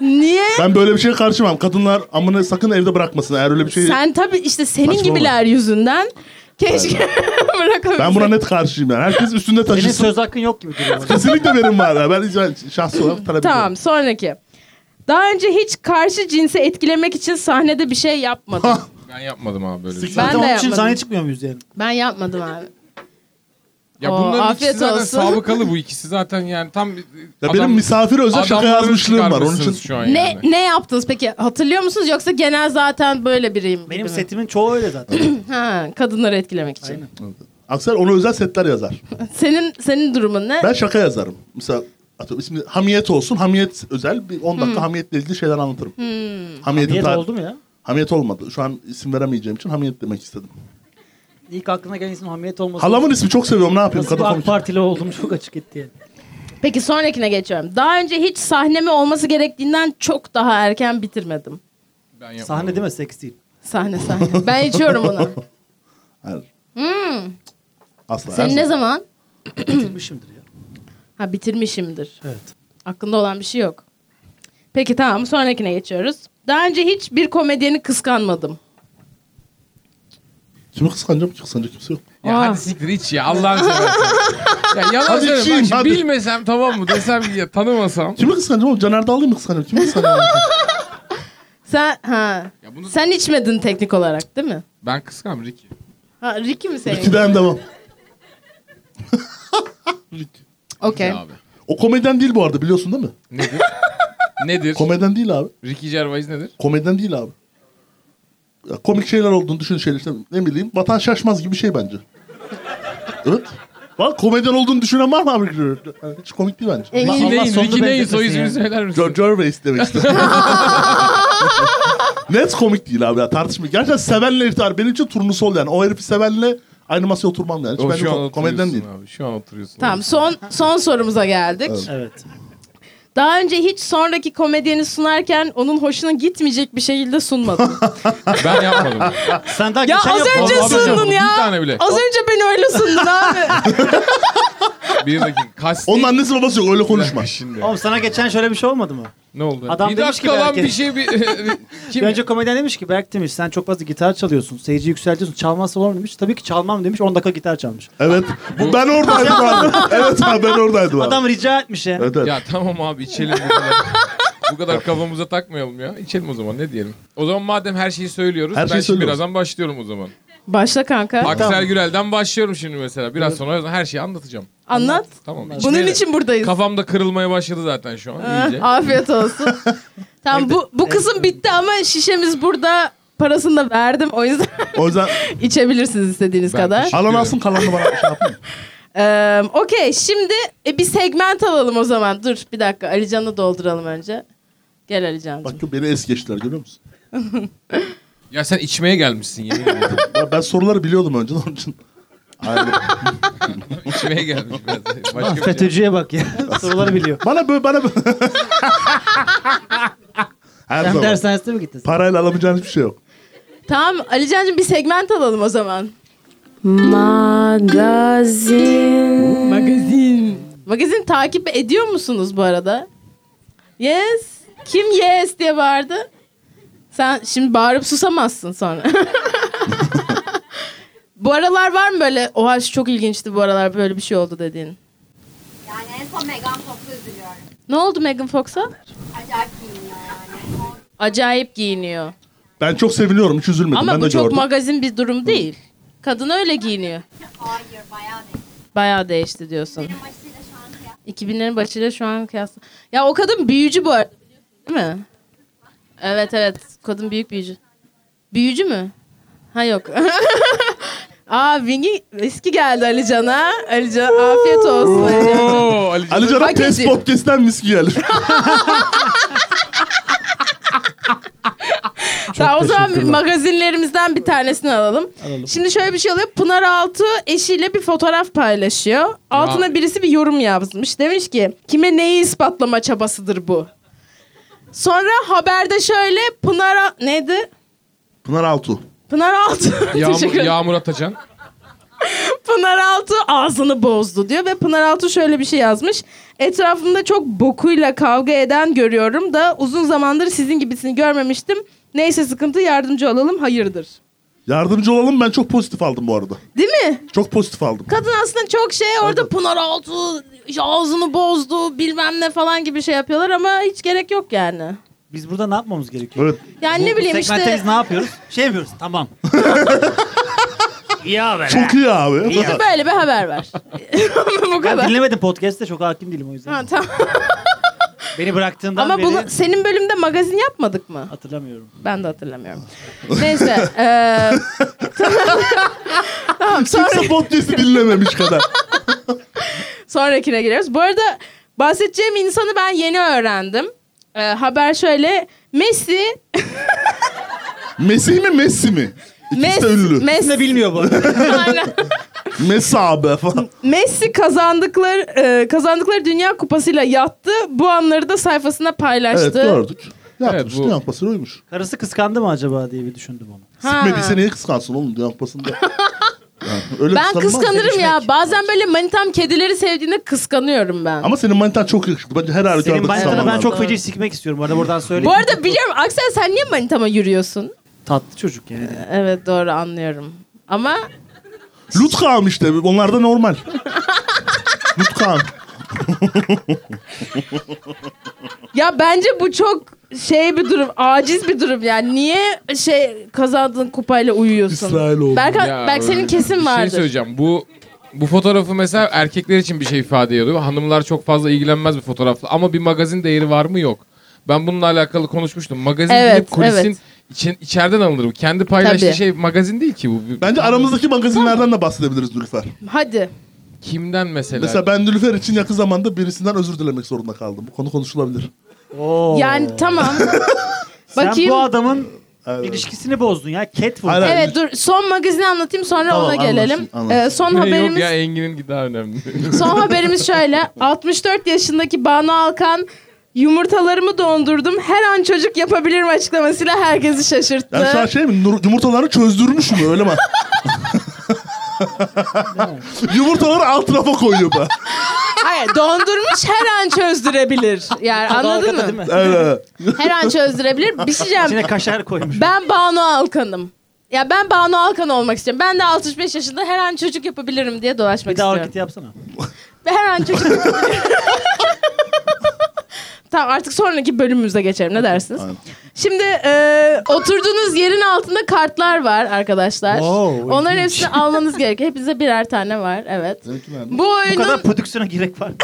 Niye?
Ben böyle bir şeye karşımam. Kadınlar amını sakın evde bırakmasın. Eğer öyle bir şey...
Sen tabii işte senin
Saçmalama.
gibiler yüzünden keşke bırakabilsek.
Ben buna net karşıyım yani. Herkes üstünde
Senin
taşısın.
söz hakkın yok gibi duruyor. bana.
Kesinlikle benim var. ya. Ben, ben şahsi olarak talep ediyorum.
Tamam sonraki. Daha önce hiç karşı cinsi etkilemek için sahnede bir şey yapmadım.
Ben yapmadım abi böyle bir şey.
Ben
Zaten
de
onun için
yapmadım.
sahneye çıkmıyor muyuz yani?
ben yapmadım abi.
Ya
Oo,
bunların ikisi
afiyet
zaten
olsun.
sabıkalı bu ikisi zaten yani tam...
Ya benim misafir özel şaka
adamları
yazmışlığım var. Onun için
çıkarmışsınız Şu an
Ne
yani.
ne yaptınız peki? Hatırlıyor musunuz yoksa genel zaten böyle biriyim?
Benim
gibi mi?
setimin çoğu öyle zaten.
Ha, kadınları etkilemek için.
Aksel ona özel setler yazar.
Senin senin durumun ne?
Ben şaka yazarım. Mesela atıyorum ismi hamiyet olsun. Hamiyet özel. Bir 10
Hmm.
dakika hamiyetle ilgili şeyler anlatırım. Hamiyetin
Niyet
tar-
oldu mu ya?
Hamiyet olmadı. Şu an isim veremeyeceğim için hamiyet demek istedim.
İlk aklına gelen isim hamiyet olması.
Halamın ismi çok seviyorum. Ne yapayım?
Nasıl
Kadın
bir AK
komik.
Partili olduğumu çok açık etti yani.
Peki sonrakine geçiyorum. Daha önce hiç sahneme olması gerektiğinden çok daha erken bitirmedim.
Ben yapmadım.
Sahne değil mi? Seks değil.
Sahne sahne. ben içiyorum bunu.
Hayır. Asla.
Senin ne zaman?
Bitirmişimdir ya.
Ha bitirmişimdir.
Evet.
Aklında olan bir şey yok. Peki tamam sonrakine geçiyoruz. Daha önce hiç bir komedyeni kıskanmadım.
Kimi kıskanacağım ki? Kıskanacak kimse yok.
Ya
Aa.
hadi siktir iç ya Allah'ını seversen. ya yalan
Hadi
söyleme.
içeyim,
Bak şimdi
hadi.
bilmesem tamam mı desem ki ya tanımasam.
Kimi kıskanacağım oğlum? Caner Dağlı'yı mı kıskanacağım? Kimi kıskanacağım?
Sen ha.
Ya bunu
Sen içmedin teknik olarak değil mi?
ben kıskanım Ricky.
Ha Ricky mi senin?
İkiden devam.
Okey.
Ya Abi.
O komedyen değil bu arada biliyorsun değil mi?
Nedir? nedir?
Komedyen değil abi.
Ricky Gervais nedir?
Komedyen değil abi. Ya komik şeyler olduğunu düşün şeyler işte ne bileyim vatan şaşmaz gibi bir şey bence. evet. Var komedyen olduğunu düşünen var mı abi? Yani Hiç komik değil bence.
Engin-
Ricky
Allah
neyin?
sonunu
Ricky neyin?
benzetesin
Soy ismini
yani.
söyler misin?
Ger- Gervais demek istedim. Net komik değil abi ya tartışma. Gerçekten sevenle iftar benim için turnusol yani. O herifi sevenle aynı masaya oturmam yani. Hiç
O,
bence
şu an
ko- komedyen
oturuyorsun
değil.
abi. Şu an oturuyorsun.
Tamam son son sorumuza geldik.
Evet.
Daha önce hiç sonraki komedyeni sunarken onun hoşuna gitmeyecek bir şekilde sunmadım.
Ben yapmadım.
Sen daha
ya
geçen
az
yapmadın.
önce
Vallahi ben
sundun
yapmadım.
ya.
Bir tane bile.
Az önce beni öyle sundun abi.
Bir dakika. Kasti.
Onun annesi babası yok öyle konuşma.
Şimdi.
Oğlum sana geçen şöyle bir şey olmadı mı?
Ne oldu?
Adam
bir
demiş
dakika
ki
lan
belki-
bir şey bir... Kim?
Bence komedyen demiş ki Berk demiş sen çok fazla gitar çalıyorsun. Seyirci yükseltiyorsun. Çalmazsa olur mu demiş. Tabii ki çalmam demiş. 10 dakika gitar çalmış.
Evet. Bu, ben oradaydım abi. Evet abi ben oradaydım abi.
Adam rica etmiş ya.
Evet, evet.
Ya tamam abi içelim bu kadar. bu kadar kafamıza takmayalım ya. İçelim o zaman ne diyelim. O zaman madem her şeyi söylüyoruz
Her
ben
şeyi
şimdi
söylüyoruz.
birazdan başlıyorum o zaman.
Başla kanka.
Aksel Gürel'den başlıyorum şimdi mesela. Biraz sonra her şeyi anlatacağım.
Anlat.
Tamam.
Bunun
İçmeye-
için Ee, buradayız.
Kafamda kırılmaya başladı zaten şu an iyice.
Afiyet olsun. tamam bu, bu kısım bitti ama şişemiz burada. Parasını da verdim. O yüzden
O yüzden
içebilirsiniz istediğiniz
Ben
kadar.
teşekkür-
alan alsın kalanını bana şey yapmayın.
Ee, Okey şimdi e, bir segment alalım o zaman. Dur bir dakika Alican'ı dolduralım önce. Gel Alican'cığım.
Bak beni es geçtiler görüyor musun?
Ya sen içmeye gelmişsin yemin ediyorum.
Ben, ben soruları biliyordum önceden onun için. Aynen.
içmeye gelmiş biraz. Başka bir şey.
FETÖ'cüye bak ya. Soruları biliyor.
bana böyle bana böyle. Her
Sen
zaman.
dershanesine mi gittin?
Parayla alamayacağın hiçbir şey yok.
Tamam Alican'cığım bir segment alalım o zaman.
Magazin.
Magazin. Magazin takip ediyor musunuz bu arada? Yes. Kim yes diye bağırdı? Sen şimdi bağırıp susamazsın sonra. bu aralar var mı böyle oha şu çok ilginçti bu aralar böyle bir şey oldu dediğin?
Yani en son Megan Fox'a üzülüyorum.
Ne oldu Megan Fox'a?
Acayip giyiniyor yani.
Acayip giyiniyor.
Ben çok seviniyorum hiç üzülmedim.
Ama
ben
bu
de
çok
gördüm.
magazin bir durum değil. Kadın öyle giyiniyor.
Hayır bayağı değil.
Bayağı değişti diyorsun.
Benim açısıyla şu an kıyas-
2000'lerin başıyla şu an kıyasla. Ya o kadın büyücü bu arada değil mi? Evet evet. Kadın büyük büyücü. Büyücü mü? Ha yok. Aa Wingy eski geldi Ali Can'a. Ali Can afiyet olsun Ali Can.
Oo, Ali
Ali Can'ın
Hak
test
ediyor.
podcast'ten miski gelir.
Tamam o zaman magazinlerimizden bir tanesini alalım. Şimdi şöyle bir şey oluyor. Pınar Altı eşiyle bir fotoğraf paylaşıyor. Altına birisi bir yorum yazmış. Demiş ki kime neyi ispatlama çabasıdır bu? Sonra haberde şöyle Pınar Al- neydi?
Pınar Altu.
Pınar Altı.
Yağmur,
Teşekkür ederim.
Yağmur Atacan.
Pınar Altı ağzını bozdu diyor ve Pınar Altı şöyle bir şey yazmış. Etrafımda çok bokuyla kavga eden görüyorum da uzun zamandır sizin gibisini görmemiştim. Neyse sıkıntı yardımcı olalım hayırdır.
Yardımcı olalım ben çok pozitif aldım bu arada.
Değil mi?
Çok pozitif aldım.
Kadın aslında çok şey orada Pınar Altuğ işte ağzını bozdu bilmem ne falan gibi şey yapıyorlar ama hiç gerek yok yani.
Biz burada ne yapmamız gerekiyor?
Evet.
Yani ne bileyim
Segmentte
işte
biz ne yapıyoruz? Şey yapıyoruz. Tamam. ya be.
Çok iyi abi.
bize böyle bir haber ver. Bu
Ben
kadar.
dinlemedim podcast'te çok hakim değilim o yüzden.
Ha, tamam.
Beni bıraktığından
Ama
beri
bunu senin bölümde magazin yapmadık mı?
hatırlamıyorum.
Ben de hatırlamıyorum. Neyse. eee, tamam sonra,
Kimse podcast'i dinlememiş kadar.
sonrakine giriyoruz. Bu arada bahsedeceğim insanı ben yeni öğrendim. Eee, haber şöyle. Messi,
Messi mi Messi mi? İkisi de ünlü.
Messi,
Kimse
Messi,
bilmiyor bu.
Aynen.
Messi abi falan.
Messi kazandıkları e, kazandıkları Dünya Kupası'yla yattı. Bu anları da sayfasına paylaştı.
Evet gördük. Yapmış.
Evet, bu-
Dünya Kupası'na uymuş.
Karısı kıskandı mı acaba diye bir düşündüm onu.
Ha.
Sikmediyse niye kıskansın oğlum Dünya Kupası'nda? Yani öyle
Ben
kıskanılmaz.
kıskanırım ya.
Sevişmek.
Bazen böyle manitam kedileri sevdiğinde kıskanıyorum ben.
Ama senin manitan çok yakışıklı. Bence her
Senin
halükarda
bayatına
kıskanman
ben
lazım.
çok feci sikmek istiyorum. Bu arada buradan
Bu
söyleyeyim.
arada biliyorum Aksel sen niye manitama yürüyorsun?
Tatlı çocuk yani.
Evet doğru anlıyorum. Ama
Lutkağım işte. Onlar da normal. Lutkağım.
ya bence bu çok şey bir durum, aciz bir durum yani. Niye şey kazandığın kupayla uyuyorsun?
İsrail oldu.
Belki,
Ya,
belki senin
bir
kesin
Şey
vardır.
söyleyeceğim. Bu bu fotoğrafı mesela erkekler için bir şey ifade ediyor. Hanımlar çok fazla ilgilenmez bu fotoğrafla. Ama bir magazin değeri var mı yok. Ben bununla alakalı konuşmuştum. Magazin
Evet,
gidip kulisin
evet.
için, içeriden alınır bu. Kendi paylaştığı
Tabii.
şey magazin değil ki bu.
Bence aramızdaki magazinlerden de bahsedebiliriz Nülüfer.
Hadi.
Kimden mesela?
Mesela ben Nülüfer için yakın zamanda birisinden özür dilemek zorunda kaldım. Bu konu konuşulabilir.
Oo.
Yani tamam.
Sen
bakayım.
bu adamın
Evet.
ilişkisini bozdun ya. Catwoman.
Ee, Aynen.
Evet dur son magazini anlatayım sonra
Tamam,
ona gelelim.
anlaşıldı, anlaşıldı.
Ee, son
Yok
haberimiz
ya Engin'in daha önemli.
son haberimiz şöyle. 64 yaşındaki Banu Alkan yumurtalarımı dondurdum. Her an çocuk yapabilirim açıklamasıyla herkesi şaşırttı.
Yani şu an şey mi? nur- Yumurtaları çözdürmüş mü? Öyle mi? Yumurtaları alt rafa koyuyor be.
Ay, Şöyle dondurmuş her an çözdürebilir. Yani anladın
Dalgada
mı?
değil mi?
Evet.
Her an çözdürebilir. Bir şey
İçine
diyeceğim.
kaşar koymuş.
Ben Banu Alkan'ım. Ya ben Banu Alkan olmak istiyorum. Ben de 65 yaşında her an çocuk yapabilirim diye dolaşmak
Bir daha
istiyorum.
hareket yapsana.
Ve her an çocuk yapabilirim. tamam artık sonraki bölümümüze geçelim. Ne dersiniz?
Aynen.
Şimdi e, oturduğunuz yerin altında kartlar var arkadaşlar.
Wow,
Onların hepsini almanız gerekiyor. Hepinize birer tane var. Evet.
Seninki nerede?
Bu
Bu
oyunun
kadar prodüksiyona gerek var. mı?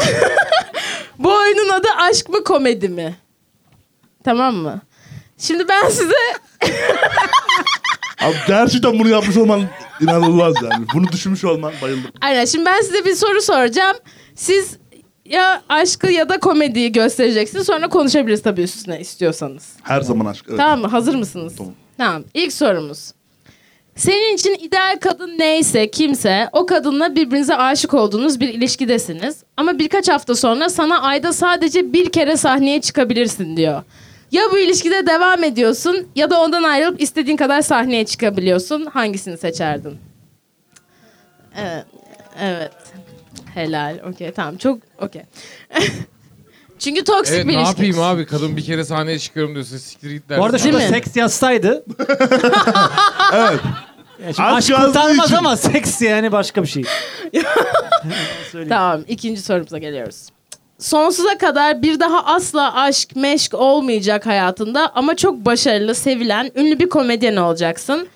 Bu oyunun adı aşk mı komedi mi? Tamam mı? Şimdi ben size
Abi gerçekten bunu yapmış olman inanılmaz yani. Bunu düşünmüş olman bayıldım.
aynen şimdi ben size bir soru soracağım. Siz ya aşkı ya da komediyi göstereceksiniz. Sonra konuşabiliriz tabii üstüne istiyorsanız.
Her zaman aşk. Evet.
Tamam mı? Hazır mısınız?
Tamam.
Tamam. İlk sorumuz. Senin için ideal kadın neyse, kimse, o kadınla birbirinize aşık olduğunuz bir ilişkidesiniz. Ama birkaç hafta sonra sana ayda sadece bir kere sahneye çıkabilirsin diyor. Ya bu ilişkide devam ediyorsun ya da ondan ayrılıp istediğin kadar sahneye çıkabiliyorsun. Hangisini seçerdin? Evet. Evet. Helal. Okey tamam. Çok okey. Çünkü toksik
Evet
bir
ne
ilişki.
yapayım abi kadın bir kere sahneye çıkıyorum diyorsun siktir git dersin.
Bu arada
Değil
şurada
mi?
seks yazsaydı. evet. şimdi
Aşk
aşk
yazdığı
kurtarmaz
için.
ama seks yani başka bir şey. Söyleyeyim.
Tamam ikinci sorumuza geliyoruz. Sonsuza kadar bir daha asla aşk meşk olmayacak hayatında ama çok başarılı, sevilen, ünlü bir komedyen olacaksın.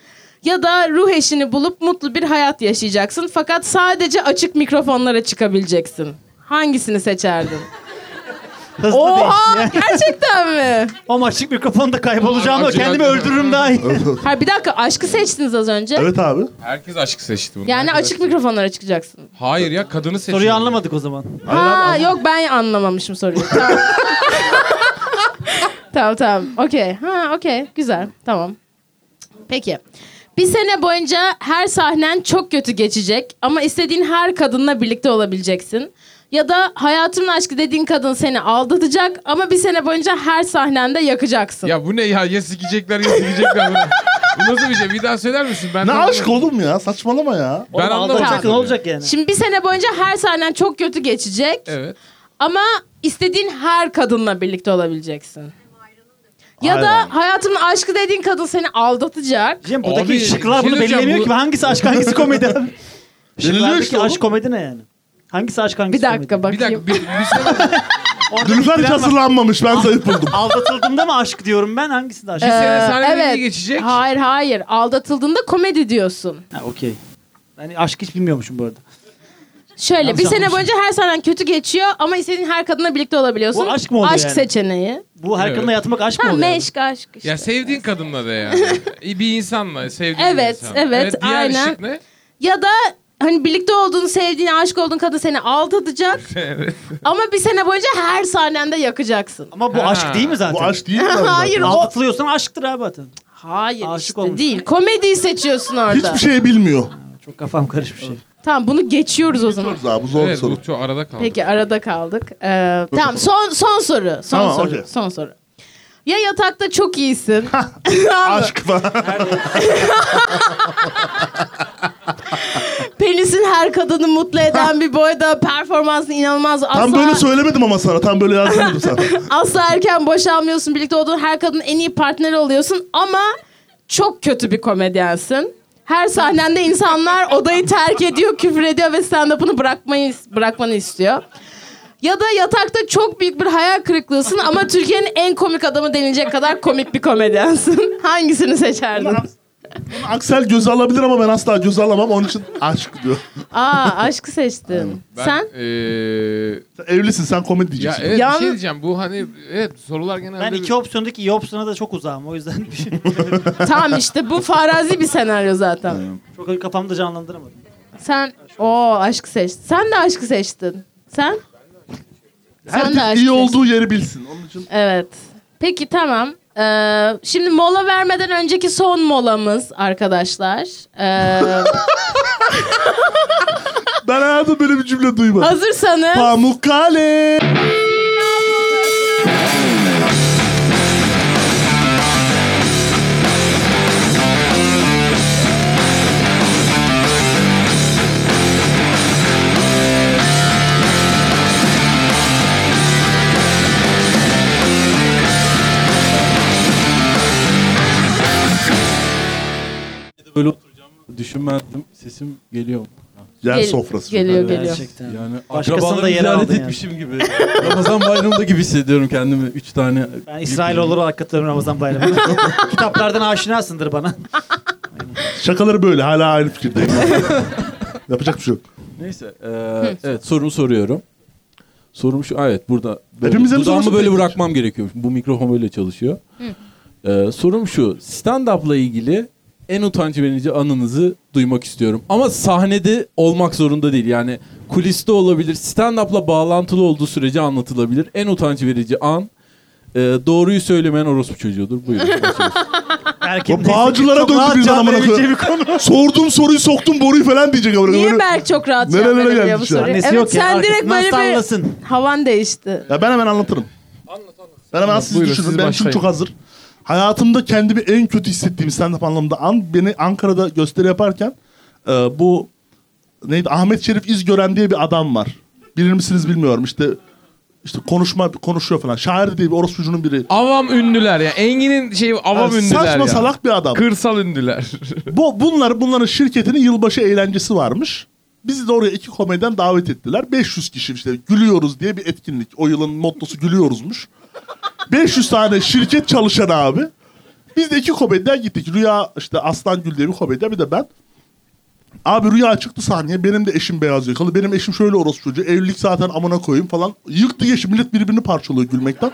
Ya da ruh eşini bulup mutlu bir hayat yaşayacaksın fakat sadece açık mikrofonlara çıkabileceksin. Hangisini seçerdin?
Hızlı değişti
Oha
ya.
gerçekten mi?
Ama açık mikrofonda kaybolacağım
Açık-
kendimi öldürürüm daha iyi.
Ha bir dakika aşkı seçtiniz az önce.
Evet abi.
Herkes aşk seçti bunu.
Yani
Herkes-
açık mikrofonlara çıkacaksın.
Hayır ya kadını seçti.
Soruyu anlamadık o zaman.
Ha yok ben anlamamışım soruyu. Tamam. tamam tamam. Okey. Ha okey. Güzel. Tamam. Peki. Bir sene boyunca her sahnen çok kötü geçecek ama istediğin her kadınla birlikte olabileceksin. Ya da hayatımın aşkı dediğin kadın seni aldatacak ama bir sene boyunca her sahnende yakacaksın.
Ya bu ne ya ya sikecekler ya sikecekler. bu bu nasıl bir şey bir daha söyler misin? Ben
Ne
tam-
aşk oğlum ya saçmalama ya.
Ben
Oğlum
anlamadım.
aldatacak, Ne olacak yani?
Şimdi bir sene boyunca her sahnen çok kötü geçecek
Evet.
ama istediğin her kadınla birlikte olabileceksin. Ya
Aynen.
da hayatımın aşkı dediğin kadın seni aldatacak.
Cem
Abi,
buradaki şıklar
şey
bunu
diyeceğim,
belirlemiyor
bu-
ki. Hangisi aşk hangisi komedi abi? Şıklardaki
işte oğlum.
aşk komedi ne yani? Hangisi aşk hangisi
Bir dakika
Bir
bakayım.
dakika bir, şey bir sene,
Orada
Nilüfer
bir
hiç
plan var.
hazırlanmamış ben zayıf buldum.
Aldatıldığımda mı aşk diyorum ben hangisi de aşk?
bir sene
Ee,
sahneye
evet.
geçecek.
Hayır hayır aldatıldığında komedi diyorsun.
Ha, okey. Ben aşk hiç bilmiyormuşum bu arada.
Şöyle
Yanlış
bir sene
anlamışım.
boyunca her sahnen kötü geçiyor ama istediğin her kadınla birlikte olabiliyorsun.
Bu aşk mı oluyor
Aşk
yani?
seçeneği.
Bu her
Evet.
kadınla yatmak aşk mı
Ha
oluyor?
meşk aşk işte.
Ya sevdiğin kadınla da yani. İyi bir insanla sevdiğin
Evet,
bir insan.
evet,
diğer
aynen.
şık ne?
Ya da hani birlikte olduğun, sevdiğin, aşık olduğun kadın seni aldatacak.
Evet.
ama bir sene boyunca her sahnende yakacaksın.
Ama bu
Ha.
aşk değil mi zaten?
Bu aşk değil mi? abi
Hayır,
zaten?
o-
Aldatılıyorsan aşktır abi zaten.
Hayır
Aşık
işte
olmuş.
değil. Komediyi seçiyorsun orada.
Hiçbir şey bilmiyor.
Çok kafam karışmış. Şey.
Tamam bunu geçiyoruz o zaman.
Soruz abi bu zor bir
evet
soru.
bu çok arada kaldı.
Peki arada kaldık. Ee, tamam son son soru. Son
Tamam,
soru.
okey.
Son soru. Ya yatakta çok iyisin.
Aşk falan.
Penisin her kadını mutlu eden bir boyda performansın inanılmaz.
Tam
Asla,
böyle söylemedim ama sana. Tam böyle yazmadım sana.
asla erken boşanmıyorsun. Birlikte olduğun her kadının en iyi partneri oluyorsun ama çok kötü bir komedyensin. Her sahnende insanlar odayı terk ediyor, küfür ediyor ve stand-up'ını bırakmayı, bırakmanı istiyor. Ya da yatakta çok büyük bir hayal kırıklığısın ama Türkiye'nin en komik adamı denilecek kadar komik bir komedyensin. Hangisini seçerdin?
Aksel göze alabilir ama ben asla göze alamam. Onun için aşk diyor.
Aa aşkı seçtin.
Ben,
Sen?
eee,
Sen evlisin sen komedi
ya
diyeceksin.
evet bir
Yan-
şey diyeceğim. Bu hani evet sorular genelde...
Ben iki opsiyondaki iyi opsiyona da çok uzağım. O yüzden bir şey-
Tamam işte bu farazi bir senaryo zaten.
çok kafamda canlandıramadım.
Sen o aşkı seçtin. Sen de aşkı seçtin. Sen? Sen de
Herkes iyi
aşkı
olduğu yeri bilsin. Onun için
Evet. Peki tamam. Ee, şimdi mola vermeden önceki son molamız arkadaşlar. Ee,
ben hayatımda böyle bir cümle duymadım.
hazırsanız
Pamukkale.
evde böyle oturacağımı düşünmezdim. Sesim geliyor. mu?
Yer
Gel-
sofrası.
Geliyor geliyor.
Gerçekten.
Yani
Başkasını da
akrabalarımı
yere
ziyaret
aldın yani.
etmişim gibi. Ramazan bayramında gibi hissediyorum kendimi. Üç tane.
Ben İsrail olur olarak katılıyorum Ramazan bayramına. Kitaplardan aşinasındır bana.
Şakaları böyle hala aynı fikirdeyim. Yapacak bir şey yok.
Neyse. eee, evet sorumu soruyorum. Sorum şu. Evet burada. Böyle,
Hepimize mi
dudağımı
sorusu
böyle
tek-
bırakmam gerekiyor. Bu mikrofon böyle çalışıyor. Eee, sorum şu. Stand-up'la ilgili en utanç verici anınızı duymak istiyorum. Ama sahnede olmak zorunda değil. Yani kuliste olabilir. Stand-up'la bağlantılı olduğu sürece anlatılabilir. En utanç verici an eee, doğruyu söylemeyen orospu çocuğudur. Buyurun.
Erkin
Bu bağcılara
Çok
döndü
rahat
birden
cevap
amına
verebileceği
koyayım.
bir konu.
Sorduğum soruyu soktum boruyu falan diyecek. amına koyayım.
Niye Berk çok rahat
Nerelere
cevap verebiliyor bu
gelmiş ya?
soruyu?
Annesi
Evet
yok ya,
sen direkt
arkasından
böyle bir
sallasın.
havan değişti.
Ya ben hemen anlatırım. Ben hemen siz
Buyurun,
düşünün. ben
siz başlayın.
çünkü çok hazır. Hayatımda kendimi en kötü hissettiğim stand-up anlamında an beni Ankara'da gösteri yaparken e, bu neydi Ahmet Şerif İzgören diye bir adam var. Bilir misiniz bilmiyorum. İşte işte konuşma konuşuyor falan. Şair diye bir orospucunun biri.
Avam ünlüler ya. Engin'in şeyi avam
Yani
ünlüler
saçma
ya.
salak bir adam.
Kırsal ünlüler.
Bu, bunlar bunların şirketinin yılbaşı eğlencesi varmış. Bizi de oraya iki komedyen davet ettiler. 500 kişi işte gülüyoruz diye bir etkinlik. O yılın mottosu gülüyoruzmuş. 500 tane şirket çalışan abi. Biz de iki komedyen gittik. Rüya işte Aslan Gül diye bir komedyen bir de ben. Abi Rüya çıktı sahneye. Benim de eşim beyaz yakalı. Benim eşim şöyle orospu çocuğu. Evlilik zaten amına koyayım falan. Yıktı yaşı millet birbirini parçalıyor gülmekten.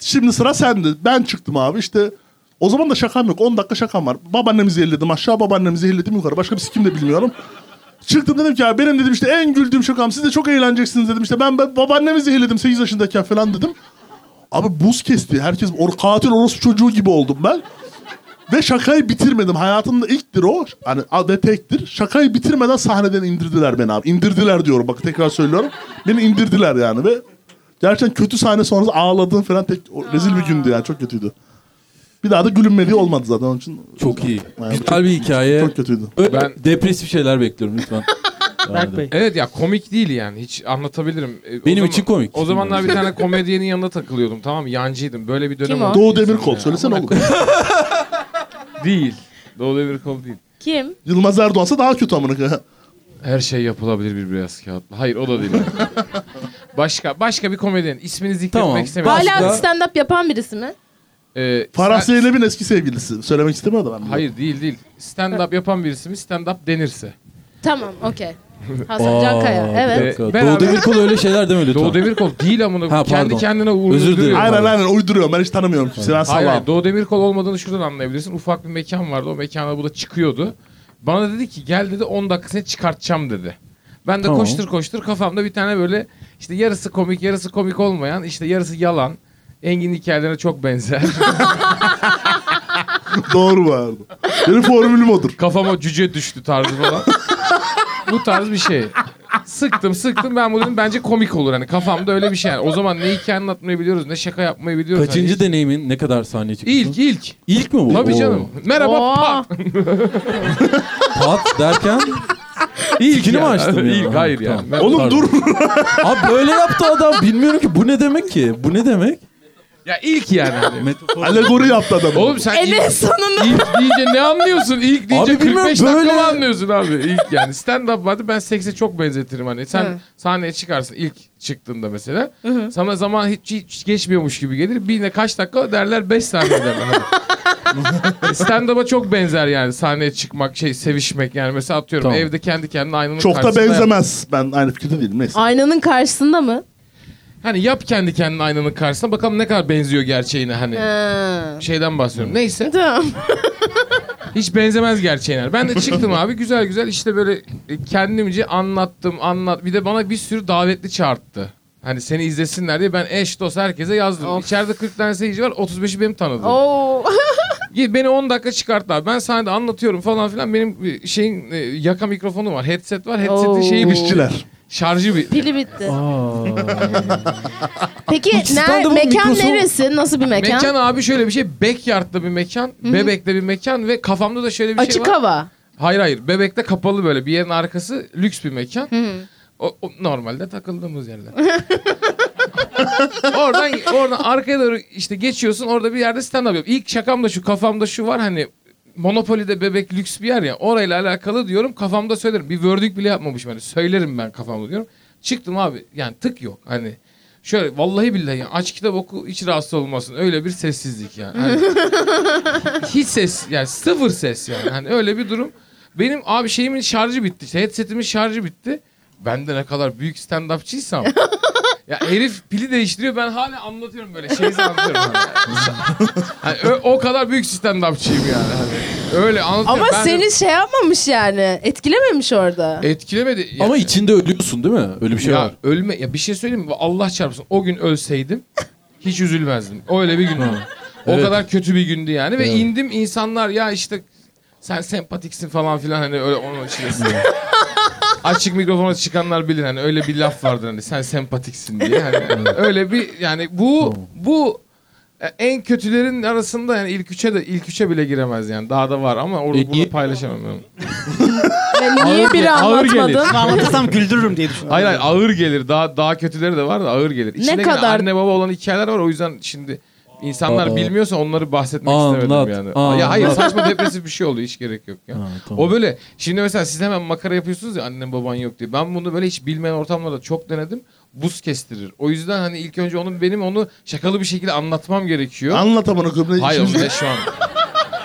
Şimdi sıra sende. Ben çıktım abi işte. O zaman da şakam yok. 10 dakika şakam var. Babaannemi zehirledim aşağı, babaannemi zehirledim yukarı. Başka bir sikim de bilmiyorum. Çıktım dedim ki ya benim dedim işte en güldüğüm şakam. Siz de çok eğleneceksiniz dedim. İşte ben, ben babaannemi zehirledim 8 yaşındayken falan dedim. Abi buz kesti. Herkes or katil orospu çocuğu gibi oldum ben. Ve şakayı bitirmedim. Hayatımda ilktir o. Hani a- ve tektir. Şakayı bitirmeden sahneden indirdiler beni abi. İndirdiler diyorum. Bak tekrar söylüyorum. Beni indirdiler yani ve gerçekten kötü sahne sonrası ağladım falan tek o rezil bir gündü yani. Çok kötüydü. Bir daha da gülünmediği olmadı zaten onun için.
Çok iyi.
Yani
Güzel bir
E,
hikaye.
Çok kötüydü.
Böyle
Ben-
depresif şeyler bekliyorum lütfen.
Berk Bey.
Evet ya komik değil yani. Hiç anlatabilirim. E, o
Benim
zaman-
için komik.
O zamanlar bir tane komedyenin yanında takılıyordum tamam mı? Yancıydım. Böyle bir dönem
Kim o?
oldu.
Doğu Demirkol söylesene oğlum.
Değil. Doğu Demirkol değil.
Kim?
Yılmaz Erdoğan'sa daha kötü amına koyayım.
Her şey yapılabilir bir beyaz kağıtla. Hayır o da değil. başka başka bir komedyen. İsmini zikretmek
Tamam.
istemiyorum.
Hala
Başka-
stand-up yapan birisi mi?
Ee,
Farah
sen-
Zeynep'in eski sevgilisi. Söylemek istemiyor da ben. bunu.
Hayır değil değil. Stand up yapan birisi mi stand up denirse.
Tamam okey. Hasan Can
Aa, bir
Kaya evet.
dakika.
Beraber-
Doğu Demirkol öyle şeyler deme lütfen.
Doğu Demirkol değil amına
Ha,
kendi
pardon.
kendine
Özür dilerim.
uyduruyor.
Aynen aynen uyduruyorum. Ben hiç tanımıyorum kimseyi. Ben
Hayır,
salağım.
hayır. Doğu Demirkol olmadığını şuradan anlayabilirsin. Ufak bir mekan vardı. O mekana bu da çıkıyordu. Bana dedi ki gel dedi 10 dakika seni çıkartacağım dedi. Ben de
Tamam.
koştur koştur kafamda bir tane böyle işte yarısı komik yarısı komik olmayan işte yarısı yalan. Engin hikayelerine çok benzer.
Doğru bu arada. Benim formülüm odur.
Kafama cüce düştü tarzı falan. bu tarz bir şey. Sıktım sıktım ben bu dedim bence komik olur hani kafamda öyle bir şey yani. O zaman ne hikaye anlatmayı biliyoruz ne şaka yapmayı biliyoruz.
Kaçıncı
hani
deneyimin ne kadar saniye çıktı?
ilk, ilk ilk.
İlk mi bu?
Tabii
Oo.
canım. Merhaba
Oo.
pat.
Pat derken ilkini mi
yani.
açtın? ya?
İlk, hayır yani. Ben-
Oğlum
Pardon.
dur.
Abi böyle yaptı adam. Bilmiyorum ki bu ne demek ki? Bu ne demek?
Ya ilk yani. hani.
Alegori yaptı adam.
Oğlum sen
En
ilk,
sonunda
ilk deyince ne anlıyorsun? İlk deyince
Abi
45
bilmiyorum,
dakika
böyle-
mı anlıyorsun abi? İlk yani stand up vardı ben sekse çok benzetirim hani. Sen
Hı.
sahneye çıkarsın ilk çıktığında mesela. Sana zaman hiç, hiç geçmiyormuş gibi gelir. Bir ne kaç dakika derler 5 saniye derler. hani. stand up'a çok benzer yani sahneye çıkmak şey sevişmek yani mesela atıyorum
Tamam.
evde kendi kendine aynanın
Çok da
karşısında Yap.
benzemez. Ben aynı fikirde değilim. Neyse.
Aynanın karşısında mı?
Hani yap kendi kendine aynanın karşısında bakalım ne kadar benziyor gerçeğine hani.
Ha.
Şeyden bahsediyorum. Neyse.
Tamam.
Hiç benzemez gerçeğine. Ben de çıktım abi güzel güzel işte böyle e, kendimce anlattım anlat. Bir de bana bir sürü davetli çağırttı. Hani seni izlesinler diye ben eş dost herkese yazdım. İçeride 40 tane seyirci var 35'i benim tanıdığım.
Oo.
Gel- Beni 10 dakika çıkarttılar. Ben sahnede anlatıyorum falan filan. Benim e, şeyin e, yaka mikrofonu var. Headset var. Headsetin
Oo.
şeyi bitti.
İşçiler.
Şarjı bir.
Pili bitti. Peki ner,
stand-up'ın
mekan
mikrosu-
neresi? Nasıl bir mekan?
Mekan abi şöyle bir şey. Backyard'da bir mekan. Bebek'te bir mekan ve kafamda da şöyle bir şey
Açık
var.
hava.
Hayır hayır. Bebek'te kapalı böyle. Bir yerin arkası lüks bir mekan. O, o normalde takıldığımız yerler. oradan oradan arkaya doğru işte geçiyorsun. Orada bir yerde stand up yap. İlk şakamda şu kafamda şu var hani Monopoly'de bebek lüks bir yer ya. Orayla alakalı diyorum kafamda söylerim. Bir wording bile yapmamışım hani. Söylerim ben kafamda diyorum. Çıktım abi yani tık yok hani. Şöyle vallahi billahi ya, aç kitap oku hiç rahatsız olmasın. Öyle bir sessizlik yani. Hani hiç ses yani sıfır ses yani. Hani öyle bir durum. Benim abi şeyimin şarjı bitti. İşte headsetimin şarjı bitti. Ben de ne kadar büyük stand-upçıysam. ya herif pili değiştiriyor ben hala anlatıyorum böyle şey anlatıyorum. Hani. Hani ö- o kadar büyük stand-upçıyım yani. Hani öyle anlatıyorum.
Ama
Ben de-
seni şey yapmamış yani. Etkilememiş orada.
etkilemedi. Ya-
Ama içinde ölüyorsun değil mi? Öyle bir şey
ya
var.
ölme ya bir şey söyleyeyim mi? Allah çarpsın. O gün ölseydim hiç üzülmezdim. Öyle bir gün oldu. O
Evet.
kadar kötü bir gündü yani ve
Evet.
indim insanlar ya işte sen sempatiksin falan filan hani öyle onun içerisinde. Açık mikrofona çıkanlar bilir hani öyle bir laf vardır hani sen sempatiksin diye. Hani öyle bir yani bu bu e, en kötülerin arasında yani ilk üçe de ilk üçe bile giremez yani. Daha da var
E,
ama orada bunu
İyi.
paylaşamam. ben.
Ve niye biri
ağır gelir.
anlatmadın?
Bunu anlatırsam güldürürüm diye düşündüm.
Hayır hayır ağır gelir. Daha daha kötüleri de var da ağır gelir. İçinde yine
kadar?
anne baba olan hikayeler var. O yüzden şimdi insanlar
Aa.
bilmiyorsa onları bahsetmek
Anlat,
istemedim yani.
anlat.
Ya hayır saçma depresif bir şey oluyor. Hiç gerek yok ya.
Ha, tamam.
O böyle şimdi mesela siz hemen makara yapıyorsunuz ya annen baban yok diye. Ben bunu böyle hiç bilmeyen ortamlarda çok denedim. Buz kestirir. O yüzden hani ilk önce onun benim onu şakalı bir şekilde anlatmam gerekiyor.
Anlat amına koyayım.
hayır
İşiniz-
oğlum ne şu an.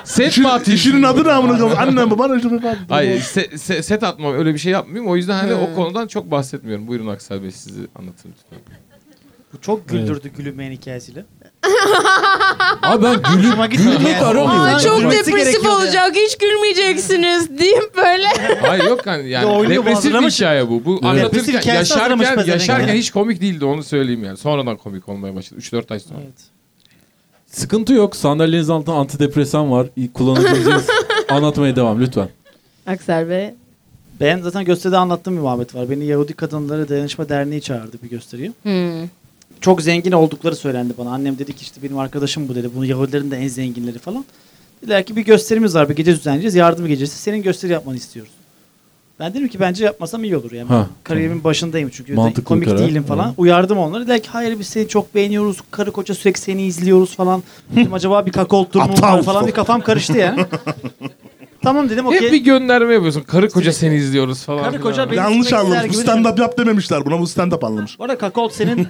Set mi
İşin,
atıyorsun?
işinin adı ne amına koyayım? Annem baban işinin adı.
Hayır se- se- set atmam öyle bir şey yapmayayım. O yüzden hani o konudan çok bahsetmiyorum. Buyurun Aksel Bey sizi anlatın lütfen.
Bu çok güldürdü gülünmeyen hikayesiyle.
Abi ben
Hoşuma
gülü,
gitmedi
gülmek
yani.
aramıyorum.
Aa,
Aa, çok
Gülmesi
depresif
gerekiyordu.
olacak. Hiç gülmeyeceksiniz deyip böyle.
Hayır yok yani,
Ya
yani
oyunu
depresif bir
hazırlamış.
hikaye bu. Bu
Depresif
anlatırken
hikayesi hazırlamış
yaşarken,
pezevenk
yaşarken
yani.
hiç komik değildi onu söyleyeyim yani. Sonradan komik olmaya başladı. 3-4 ay sonra.
Evet.
Sıkıntı yok. Sandalyenizin altında antidepresan var. İyi, Kullanabileceğiniz. Anlatmaya devam lütfen.
Aksel Bey.
Ben zaten gösteride anlattığım bir muhabbet var. Beni Yahudi Kadınları Dayanışma Derneği çağırdı bir gösteriye.
Hmm.
Çok zengin oldukları söylendi bana. Annem dedi ki işte benim arkadaşım bu dedi. Bunu Yahudilerin de en zenginleri falan. Dediler ki bir gösterimiz var. Bir gece düzenleyeceğiz. Yardım gecesi. Senin gösteri yapmanı istiyoruz. Ben dedim ki bence yapmasam iyi olur. Yani Ben
Ha,
kariyerimin başındayım çünkü.
Mantıklı bir
komik
karar.
değilim falan.
Hı.
Uyardım onları. Dediler ki hayır biz seni çok beğeniyoruz. Karı koca sürekli seni izliyoruz falan. Dedim acaba bir kakaolt durumu mu var
Aptal.
falan. Bir kafam karıştı yani. tamam dedim
Hep bir
okey.
gönderme yapıyorsun. Karı koca seni izliyoruz falan.
Karı
filan.
koca beni
Yanlış
izlemek ister
anlamış. Bu
gibi
stand up yap dememişler buna. Bu stand up anlamış.
Bu arada kakaolt senin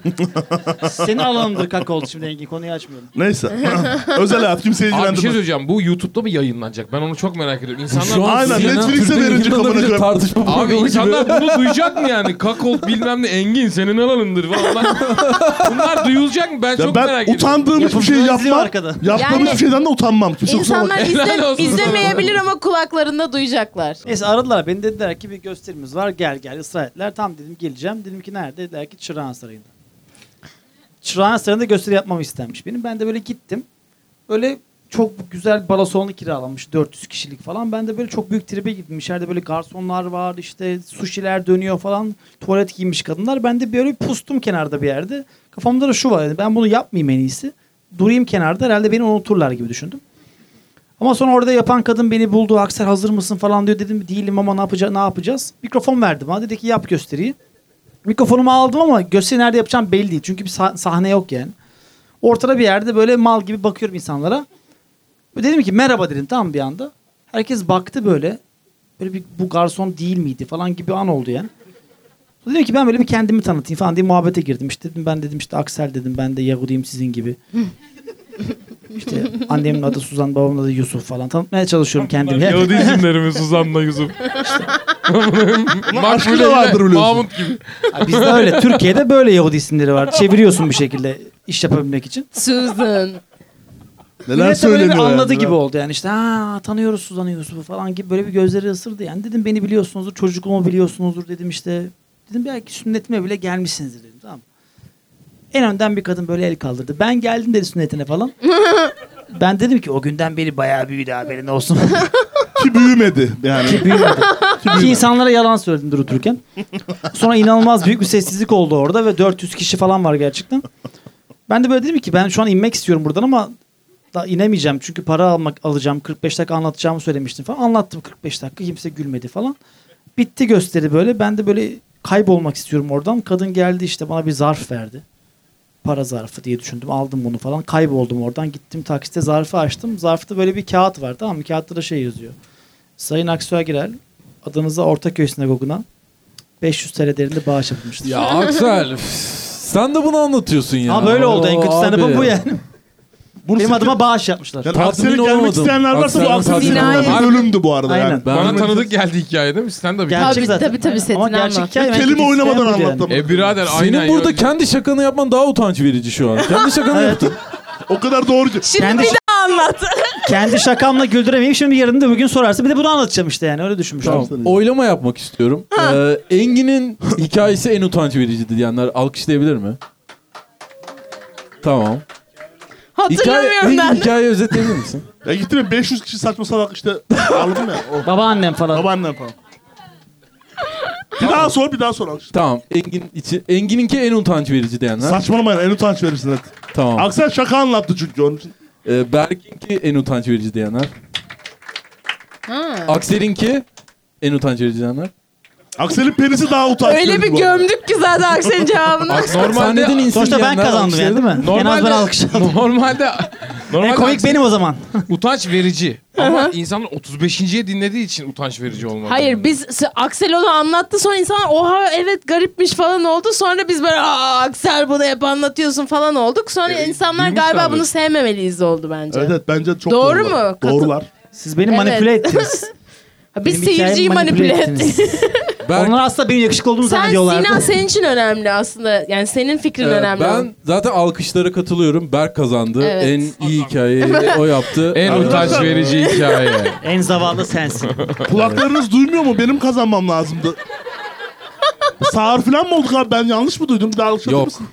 senin alanındır kakaolt şimdi Engin konuyu açmıyorum.
Neyse. Özel hayat kimseyi
Abi bir şey
ilgilendirmez.
söyleyeceğim. Bu YouTube'da mı yayınlanacak? Ben onu çok merak ediyorum.
Şu
İnsanlar
an
Aynen,
sizin
Netflix'e
türden
verince
yayınlanabilecek
kafana kırar.
tartışma
Abi
programı gibi.
insanlar bunu duyacak mı yani? Kakol bilmem ne Engin senin alanındır falan. Bunlar duyulacak mı? Ben
Ya
çok merak
ben
ediyorum.
utandığım hiçbir şey
Yapımcılar izliyor
yapmam.
arkada.
Yaptığım
Yani
hiçbir şeyden de utanmam. Kimse kusura bakmasın.
İnsanlar
Helal
izle,
olsun.
izlemeyebilir ama kulaklarında duyacaklar.
Neyse aradılar beni dediler ki bir gösterimiz var gel gel ısrar ettiler. Tam dedim geleceğim. Dedim ki nerede? Dediler ki Çırağan Sarayı'nda. Çırağan Sarayı'nda gösteri yapmamı istenmiş benim. Ben de böyle gittim. Böyle çok güzel balasonlu kiralanmış 400 kişilik falan. Ben de böyle çok büyük tribe gittim. İçeride böyle garsonlar var işte suşiler dönüyor falan. Tuvalet giymiş kadınlar. Ben de böyle pustum kenarda bir yerde. Kafamda da şu var. yani Ben bunu yapmayayım en iyisi. Durayım kenarda herhalde beni unuturlar gibi düşündüm. Ama sonra orada yapan kadın beni buldu. Aksel hazır mısın falan diyor. Dedim değilim ama ne yapacağız? Ne yapacağız? Mikrofon verdim bana. Dedi ki yap gösteriyi. Mikrofonumu aldım ama gösteri nerede yapacağım belli değil. Çünkü bir sah- sahne yok yani. Ortada bir yerde böyle mal gibi bakıyorum insanlara. Böyle dedim ki merhaba dedim tam bir anda. Herkes baktı böyle. Böyle bir bu garson değil miydi falan gibi an oldu yani. Sonra Dedim ki ben böyle bir kendimi tanıtayım falan diye muhabbete girdim. İşte dedim ben dedim işte Aksel dedim ben de Yahudiyim sizin gibi. işte annemin adı Suzan babamın adı Yusuf falan tanıtmaya çalışıyorum kendimi.
Yahudi isimlerimi Suzan'la Yusuf.
aşkı da vardır biliyorsun.
Mahmut gibi.
Ha, Bizde öyle. Türkiye'de böyle Yahudi isimleri var. Çeviriyorsun bir şekilde iş yapabilmek için.
Susan.
Neler
Millet de böyle bir
söyleniyor
anladı
yani.
gibi oldu yani işte ha tanıyoruz Suzan Yusuf'u falan gibi böyle bir gözleri ısırdı yani. Dedim beni biliyorsunuzdur, çocukluğumu biliyorsunuzdur dedim işte. Dedim belki sünnetime bile gelmişsinizdir dedim tamam mı? En önden bir kadın böyle el kaldırdı. Ben geldim dedi sünnetine falan. ben dedim ki o günden beri bayağı büyüdü haberin olsun.
Ki büyümedi. Yani
Ki büyümedi. Ki insanlara yalan söyledim durup dururken. Sonra inanılmaz büyük bir sessizlik oldu orada ve 400 kişi falan var gerçekten. Ben de böyle dedim ki ben şu an inmek istiyorum buradan ama daha inemeyeceğim çünkü para almak alacağım. 45 dakika anlatacağımı söylemiştim falan. Anlattım 45 dakika kimse gülmedi falan. Bitti gösteri böyle. Ben de böyle kaybolmak istiyorum oradan. Kadın geldi işte bana bir zarf verdi. para zarfı diye düşündüm. Aldım bunu falan. Kayboldum oradan. Gittim taksite zarfı açtım. Zarfta böyle bir kağıt var tamam mı? Kağıtta da şey yazıyor. Sayın Aksu Agirel adınıza Ortaköy Sinagogu'na 500 TL değerinde bağış yapılmıştır.
Ya Aksel üf, sen de bunu anlatıyorsun ya.
Ama böyle oldu. En kötü
Oo,
stand-up'ım
abi.
bu yani.
Bunu
Benim
sirke-
adıma bağış yapmışlar.
Yani
Tatmin
Aksel'e gelmek
olamadım.
isteyenler varsa bu
Aksel'in
Aksel'in
tatmin
sinirlendiği
olamadım.
bölümdü bu arada
Aynen.
yani.
Ben-
Bana tanıdık geldi hikaye değil mi? Stand up
Gerçek
Tabii,
zaten.
tabii, tabii, setini
Ama
anlat.
gerçek hikaye. ben
Kelime
gidip
oynamadan
İstanbul'da yani.
anlattım.
E birader
Senin
aynen.
burada
ya.
kendi şakanı yapman daha utanç verici şu an. Kendi şakanı yaptın.
O kadar doğru ki.
Şimdi
Kendi
bir daha anlat.
Kendi şakamla güldüremeyeyim. Şimdi yarın da bugün sorarsa bir de bunu anlatacağım işte yani. Öyle düşünmüşüm.
Tamam. Oylama yapmak istiyorum. Ee, Engin'in hikayesi en utanç vericiydi diyenler alkışlayabilir mi? Tamam.
Hatırlamıyorum
Hikaye,
ben.
hikaye özetleyebilir misin?
Ya gittim ya 500 kişi saçma salak işte aldım ya. O.
Babaannem falan.
Babaannem falan. Bir daha sor bir daha sor alkış.
Tamam. Engin içi, Engin'inki en utanç verici diyenler.
Saçmalamayın en utanç verirsin hadi.
Tamam.
Aksel şaka anlattı çünkü onun için.
Ee, Berk'inki en utanç verici diyenler.
Ha.
Aksel'inki en utanç verici diyenler.
Aksel'in penisi daha utanç
Öyle bir
verici bu arada.
gömdük ki zaten Aksel'in cevabını.
Ak- normalde
Sahneden insin
Sonuçta ben
diyenler
kazandım yani
alkışlayabilir
değil mi? En az ben alkış aldım.
Normalde normalde
En komik benim o zaman.
utanç verici. Ama insanlar 35.ye dinlediği için utanç verici olmadı.
Hayır biz s- Aksel onu anlattı sonra insan oha evet garipmiş falan oldu. Sonra biz böyle aa Aksel bunu hep anlatıyorsun falan olduk. Sonra
E,
insanlar
duymuşlar
galiba
da.
bunu sevmemeliyiz oldu bence.
Evet, evet bence çok
Doğru
doğrular.
mu? Katıl-
Doğrular.
Siz beni
Evet.
manipüle ettiniz.
Ha, Biz
Benim hikayemi
seyirciyi manipüle ettik.
Berk,
Onlar asla benim yakışıklı olduğumu
Sen
zannediyorlardı.
Sinan senin için önemli aslında. Yani senin fikrin
e,
önemli.
ben zaten alkışlara katılıyorum. Berk kazandı.
Evet.
En iyi hikayeyi o yaptı.
En utanç verici hikaye.
En zavallı sensin.
Kulaklarınız duymuyor mu? Benim kazanmam lazımdı. Sağır falan mı olduk abi? Ben yanlış mı duydum? Bir daha alkışlatır
Yok.
mısın?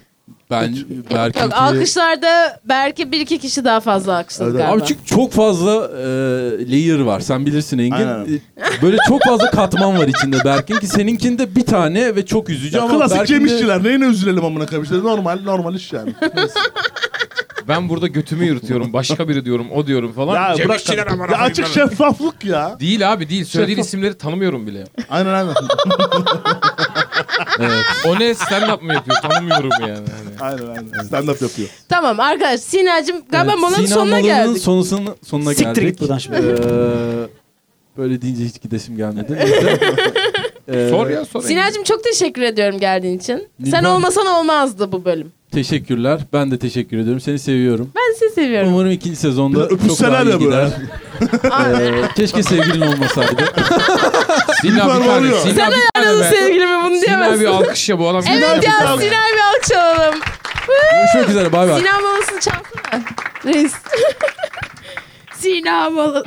Ben Berk'inki...
Yok alkışlarda belki bir iki kişi daha fazla alkışladı
Evet.
galiba.
Abi çünkü çok fazla e, layer var. Sen bilirsin Engin.
Aynen.
E, Böyle çok fazla katman var içinde Berk'in ki seninkinde bir tane ve çok üzücü
Ya
ama
klasik
Berk'in de-
Cemişçiler. Neyine üzülelim amına koyayım? İşte normal, normal iş yani.
Ben burada götümü yürütüyorum. Başka biri diyorum. O diyorum falan.
ya
Cem
bırak.
İşçiler aman
Ya
aman
açık
aman.
şeffaflık ya.
Değil abi değil. Söylediğin isimleri tanımıyorum bile.
Aynen aynen.
O ne stand up mı yapıyor? Tanımıyorum yani. Hani.
aynen aynen. Stand up yapıyor.
Tamam arkadaş Sinacığım galiba
Evet,
molanın
Sinan
sonuna
Molanın
geldik.
sonrasının- sonuna
Siktir
geldik.
git buradan şimdi.
Ee, böyle deyince hiç gidesim gelmedi. Neyse. Ee,
Sor ya sor.
Sinacığım çok teşekkür ediyorum geldiğin için. Sen
Bilmem.
olmasan olmazdı bu bölüm.
Teşekkürler. Ben de teşekkür ediyorum. Seni seviyorum.
Ben sizi seviyorum.
Umarım ikinci
Bir
sezonda
de
çok daha
öpüşseler
iyi
ya böyle.
gider. Ee, keşke sevgilin olmasaydı.
Sinan bir tane.
Oluyor.
Sinan bir tane.
Aralı
be.
sevgilime bunu
Sinan bir
diyemezsin.
alkış ya bu adam.
Evet
Sinan-
ya Sinan bir alkış alalım.
Görüşmek üzere. Bay bay.
Sinan molasını çalsana. Reis. Sinan molası.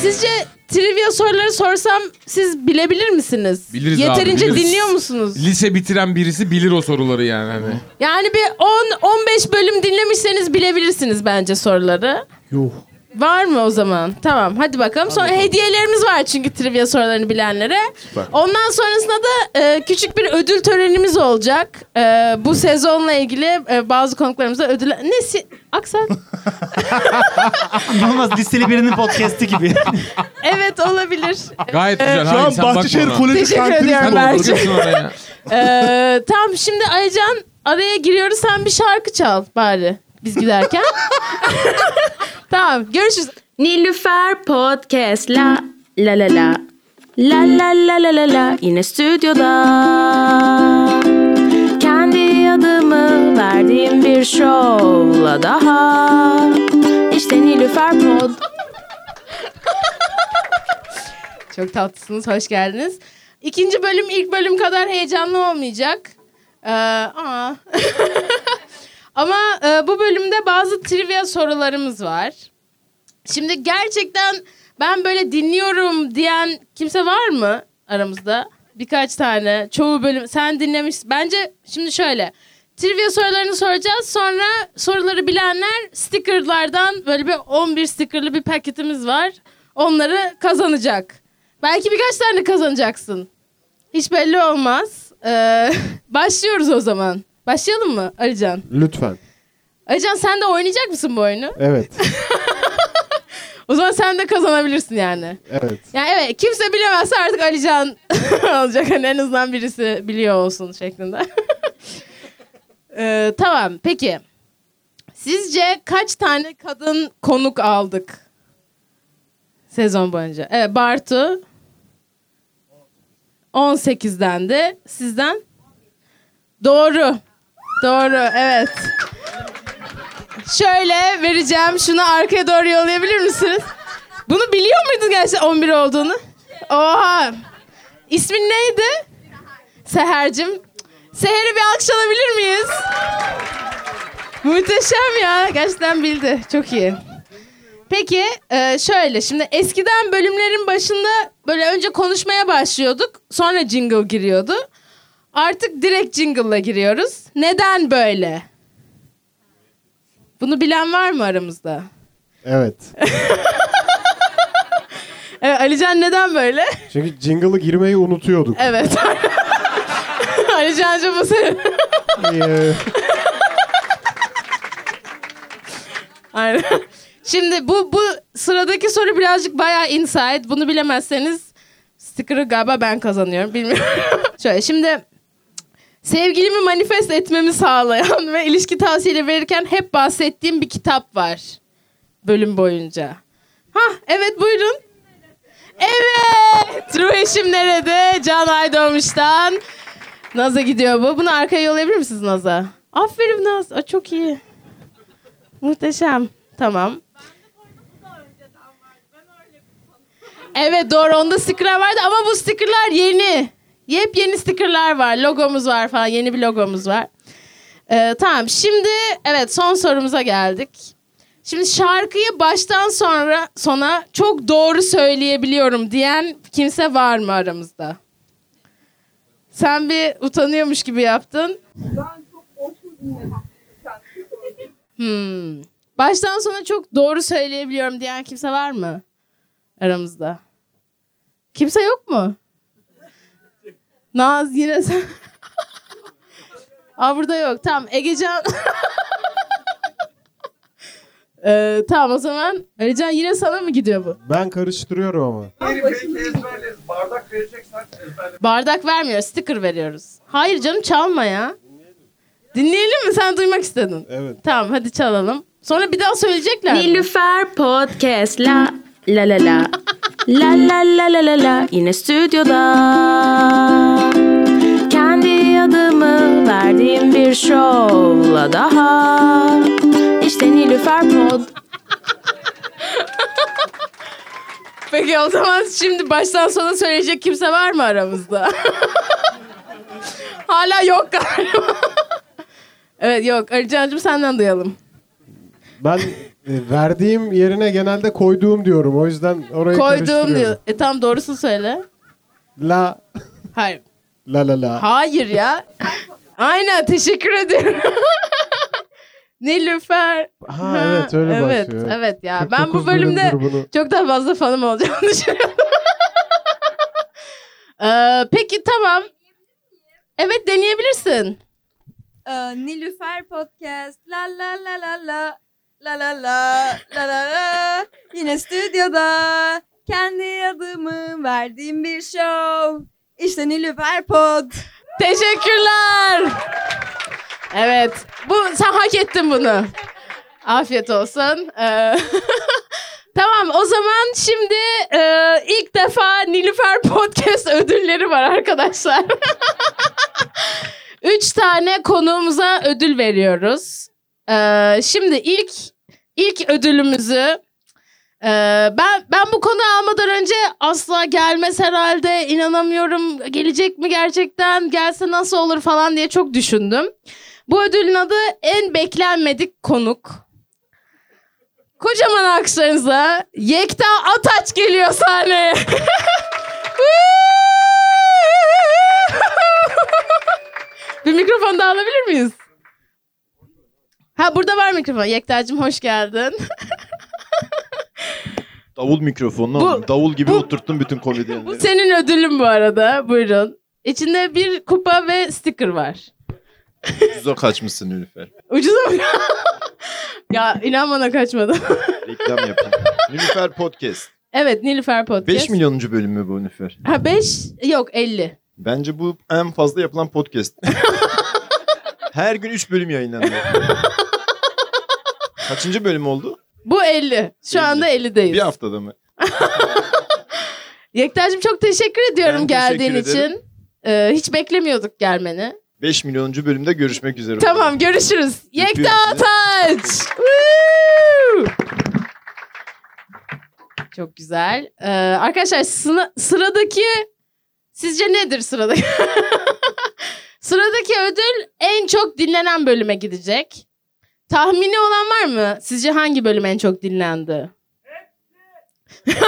Sizce trivia soruları sorsam siz bilebilir misiniz?
Biliriz abi,
Yeterince
biliriz.
dinliyor musunuz?
Lise bitiren birisi bilir o soruları yani. Hani.
Yani bir 10-15 bölüm dinlemişseniz bilebilirsiniz bence soruları.
Yuh.
Var mı o zaman? Tamam hadi bakalım. Sonra hediyelerimiz var çünkü trivia sorularını bilenlere. Ondan sonrasında da e, küçük bir ödül törenimiz olacak. E, bu sezonla ilgili e, bazı konuklarımıza ödül... Ne? Si- Aksan?
İnanılmaz listeli birinin podcast'i gibi.
evet olabilir.
Gayet güzel.
Şu
Hayır,
an
sen
Bahçeşehir
bakma ona.
Koleji
Teşekkür
kantini
ediyorum
Sen
Berk'cim.
doldurduk.
dolduracaksın oraya.
E, tam şimdi Aycan araya giriyoruz. Sen bir şarkı çal bari biz giderken. tamam görüşürüz.
Nilüfer Podcast la la la la La la la la la la yine stüdyoda Kendi adımı verdiğim bir şovla daha İşte Nilüfer Pod
Çok tatlısınız, hoş geldiniz. İkinci bölüm ilk bölüm kadar heyecanlı olmayacak. Ee, aa. Ama e, bu bölümde bazı trivia sorularımız var. Şimdi gerçekten ben böyle dinliyorum diyen kimse var mı aramızda? Birkaç tane. Çoğu bölüm sen dinlemiş. Bence şimdi şöyle. Trivia sorularını soracağız. Sonra soruları bilenler stickerlardan böyle bir 11 stickerlı bir paketimiz var. Onları kazanacak. Belki birkaç tane kazanacaksın. Hiç belli olmaz. Ee, başlıyoruz o zaman. Başlayalım mı Alican?
Lütfen.
Ee, Alican sen de oynayacak mısın bu oyunu?
Evet.
O zaman sen de kazanabilirsin yani.
Evet.
Yani evet kimse bilemezse artık Alican olacak. Hani en azından birisi biliyor olsun şeklinde. Ee, tamam peki. Sizce kaç tane kadın konuk aldık? Sezon boyunca. Evet Bartu. 18'den de sizden. Doğru. Doğru evet. Şöyle vereceğim şunu arkaya doğru yollayabilir misiniz? Bunu biliyor muydun gerçekten 11 olduğunu? Oha. İsmin neydi? Seher'cim. Seher'i bir alkış alabilir miyiz? Muhteşem ya. Gerçekten bildi. Çok iyi. Peki e, şöyle şimdi eskiden bölümlerin başında böyle önce konuşmaya başlıyorduk. Sonra jingle giriyordu. Artık direkt jingle'la giriyoruz. Neden böyle? Bunu bilen var mı aramızda?
Evet.
Evet, Alican neden böyle?
Çünkü jingle'ı girmeyi unutuyorduk.
Evet. Alican'cığım bu senin.
Ee,
Aynen. Şimdi bu bu sıradaki soru birazcık bayağı inside. Bunu bilemezseniz sticker'ı galiba ben kazanıyorum. Bilmiyorum. Şöyle şimdi sevgilimi manifest etmemi sağlayan ve ilişki tavsiyeleri verirken hep bahsettiğim bir kitap var. Bölüm boyunca. Hah evet buyurun. Evet. Ruh eşim nerede? Can Aydoğmuş'tan. Naz'a gidiyor bu. Bunu arkaya yollayabilir misiniz Naz'a? Aferin Naz. Aa, çok iyi. Muhteşem. Tamam. Evet doğru onda sticker vardı ama bu stickerlar yeni. Yepyeni stickerlar var. Logomuz var falan. Yeni bir logomuz var. Ee, tamam şimdi evet son sorumuza geldik. Şimdi şarkıyı baştan sonra sona çok doğru söyleyebiliyorum diyen kimse var mı aramızda? Sen bir utanıyormuş gibi yaptın. Hmm. Baştan sona çok doğru söyleyebiliyorum diyen kimse var mı aramızda? Kimse yok mu? Naz yine sen. Aa burada yok. Tamam Egecan. ee, tamam o zaman Egecan yine sana mı gidiyor bu?
ben karıştırıyorum ama.
Bardak vermiyoruz, sticker veriyoruz. Hayır canım çalma ya. Dinleyelim mi? Sen duymak istedin.
Evet.
Tamam hadi çalalım. Sonra bir daha söyleyecekler. mi?
Nilüfer Podcast la la la la. La la la la la la yine stüdyoda. Kendi adımı verdiğim bir şovla daha. İşte Nilüfer Pod.
Peki o zaman şimdi baştan sona söyleyecek kimse var mı aramızda? Hala yok galiba. evet yok. Arıcan'cığım senden duyalım.
Ben e, verdiğim yerine genelde koyduğum diyorum. O yüzden orayı
Koyduğum
karıştırıyorum.
diyor. E tamam doğrusunu söyle.
La
Hayır.
la la la.
Hayır ya. Aynen teşekkür ederim. Nilüfer.
Ha, evet, öyle
evet,
başlıyor.
Evet ya.
49
ben bu bölümde
bölümdür bunu.
çok daha fazla fanım olacağını düşünüyorum. Ee, peki tamam. Evet deneyebilirsin.
Ee, Nilüfer Podcast. La la la la la. La la la la la la. Yine stüdyoda. Kendi adımı verdiğim bir show. İşte Nilüfer Pod.
Teşekkürler. Evet. Bu sen hak ettin bunu. Afiyet olsun. Ee, tamam o zaman şimdi e, ilk defa Nilüfer Podcast ödülleri var arkadaşlar. Üç tane konuğumuza ödül veriyoruz. Ee, şimdi ilk ilk ödülümüzü ee, ben ben bu konu almadan önce asla gelmez herhalde inanamıyorum gelecek mi gerçekten gelse nasıl olur falan diye çok düşündüm. Bu ödülün adı en beklenmedik konuk. Kocaman alkışlarınızla Yekta Ataç geliyor sahneye. Bir mikrofon daha alabilir miyiz? Ha burada var mikrofon. Yekta'cığım hoş geldin.
Davul mikrofonunu
Bu-
aldım. Davul gibi
bu-
oturttum bütün
Bu
komedyenleri.
senin ödülün bu arada. Buyurun. İçinde bir kupa ve sticker var.
Ucuza kaçmışsın Nilüfer.
Ucuza mı? Ya inan bana kaçmadım.
Reklam yapayım. Nilüfer Podcast.
evet Nilüfer Podcast.
5 milyonuncu bölümü bu Nilüfer.
Ha 5 yok 50.
Bence bu en fazla yapılan podcast. Her gün 3 bölüm yayınlanıyor. Kaçıncı bölüm oldu?
Bu 50. Şu
50.
anda 50'deyiz.
Bir haftada mı?
Yektacığım çok teşekkür ediyorum
Ben teşekkür
geldiğin
ederim.
için. Ee, hiç beklemiyorduk gelmeni.
5 milyonuncu bölümde görüşmek üzere.
Tamam görüşürüz.
Öpüyorum
Yekta
sizi.
Ataç. Woo! Çok güzel. Ee, arkadaşlar sına- sıradaki sizce nedir sıradaki? sıradaki ödül en çok dinlenen bölüme gidecek. Tahmini olan var mı? Sizce hangi bölüm en çok dinlendi?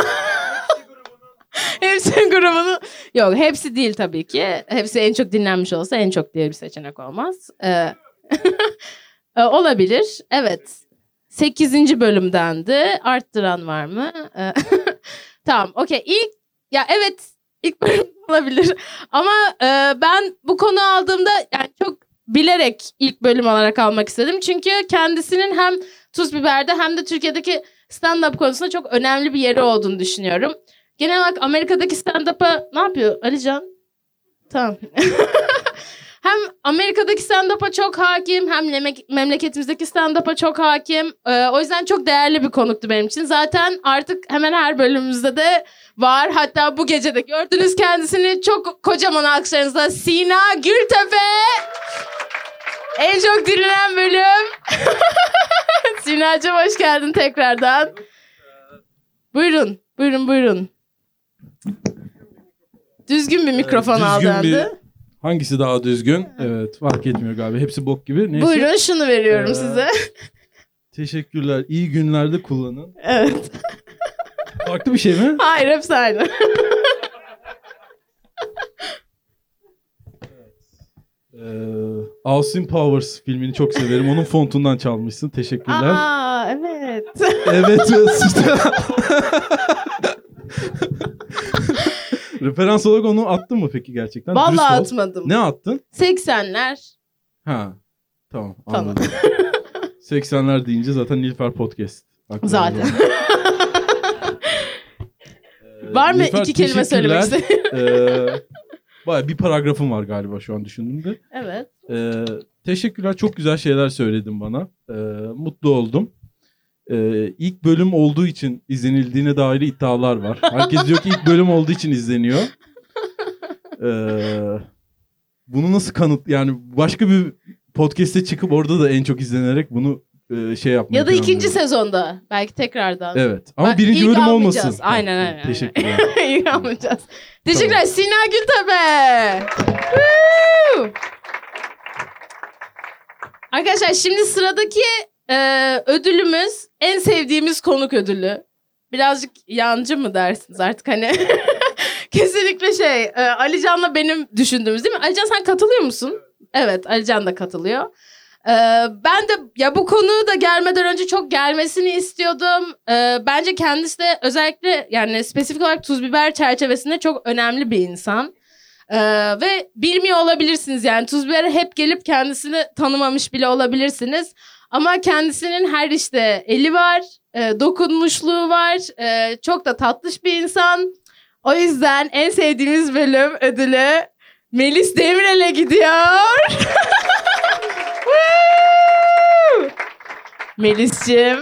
Hepsi grubunun. Yok hepsi değil tabii ki. Hepsi en çok dinlenmiş olsa en çok diye bir seçenek olmaz. Ee, e, olabilir. Evet. 8. bölümdendi. Arttıran var mı? E, tamam. Okey. İlk ya evet ilk bölüm olabilir. Ama e, ben bu konu aldığımda yani çok bilerek ilk bölüm olarak almak istedim. Çünkü kendisinin hem Tuz Biber'de hem de Türkiye'deki stand-up konusunda çok önemli bir yeri olduğunu düşünüyorum. Genel olarak Amerika'daki stand-up'a ne yapıyor Alican? Tamam. hem Amerika'daki stand-up'a çok hakim hem leme- memleketimizdeki stand-up'a çok hakim. Ee, o yüzden çok değerli bir konuktu benim için. Zaten artık hemen her bölümümüzde de var. Hatta bu gece de gördünüz kendisini. Çok kocaman alkışlarınızla Sina Gültepe. En çok dinlenen bölüm. Sinacığım hoş geldin tekrardan. Buyurun, buyurun, buyurun. Düzgün bir mikrofon
Evet,
aldı.
düzgün bir-
Hande.
Hangisi daha düzgün?
Evet fark etmiyor galiba. Hepsi bok gibi. Neyse.
Buyurun şunu veriyorum
Ee,
size.
Teşekkürler. İyi günlerde kullanın.
Evet.
Farklı bir şey mi?
Hayır hepsi aynı.
Ee, Austin Powers filmini çok severim. Onun fontundan çalmışsın. Teşekkürler.
Aa evet.
Evet. Mesut. Referans olarak onu attın mı peki gerçekten? Dürüst
Vallahi
ol.
atmadım.
Ne attın?
80'ler.
Ha. Tamam
Tamam.
anladım. 80'ler deyince zaten Nilfer Podcast. aklıma
Zaten.
geliyor. Ee,
Var mı
Nilüfer,
iki kelime söylemek
teşekkürler.
istediğin?
Ee, Baya bir paragrafım var galiba şu an düşündüğümde.
evet.
Ee, teşekkürler. Çok güzel şeyler söyledin bana. Ee, mutlu oldum. Ee, ilk bölüm olduğu için izlenildiğine dair iddialar var. Herkes diyor ki ilk bölüm olduğu için izleniyor. Ee, bunu nasıl kanıt... Yani başka bir podcast'e çıkıp orada da en çok izlenerek bunu e, şey yapmayı
Ya da ikinci
planlıyorum.
sezonda. Belki tekrardan.
Evet. Ama
Bak,
birinci
ilk
bölüm
almayacağız.
olmasın.
Aynen,
Tamam,
aynen, aynen.
Teşekkürler.
İyi anlayacağız. Teşekkürler Sina Gültepe. Woo! Arkadaşlar şimdi sıradaki e, ödülümüz en sevdiğimiz konuk ödülü. Birazcık yancı mı dersiniz artık hani? Kesinlikle şey e, Alican'la benim düşündüğümüz değil mi? Alican sen katılıyor musun? Evet Alican da katılıyor. E, ben de ya bu konuyu da gelmeden önce çok gelmesini istiyordum. E, bence kendisi de özellikle yani spesifik olarak tuz biber çerçevesinde çok önemli bir insan. E, ve bilmiyor olabilirsiniz yani tuz biber'e hep gelip kendisini tanımamış bile olabilirsiniz. Ama kendisinin her işte eli var, e, dokunmuşluğu var, e, çok da tatlış bir insan. O yüzden en sevdiğimiz bölüm ödülü Melis Demirel'e gidiyor. Woo! Melis'cim.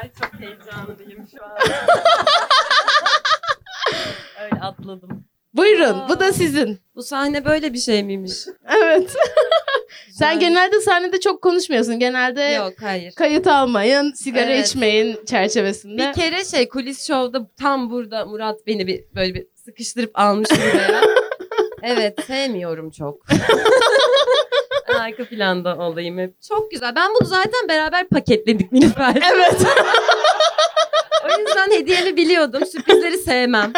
Ay çok heyecanlıyım şu an. Öyle atladım.
Buyurun bu da sizin.
Bu sahne böyle bir şey miymiş?
Evet. Sen genelde sahnede çok konuşmuyorsun. Genelde
Yok hayır.
kayıt almayın, sigara
Evet.
içmeyin çerçevesinde.
Bir kere şey kulis şovda tam burada Murat beni bir böyle bir sıkıştırıp almış buraya. evet sevmiyorum çok. Ben Arka planda olayım hep. Çok güzel. Ben bunu zaten beraber paketledik Nilüfer.
Evet.
o yüzden hediyemi biliyordum. Sürprizleri sevmem.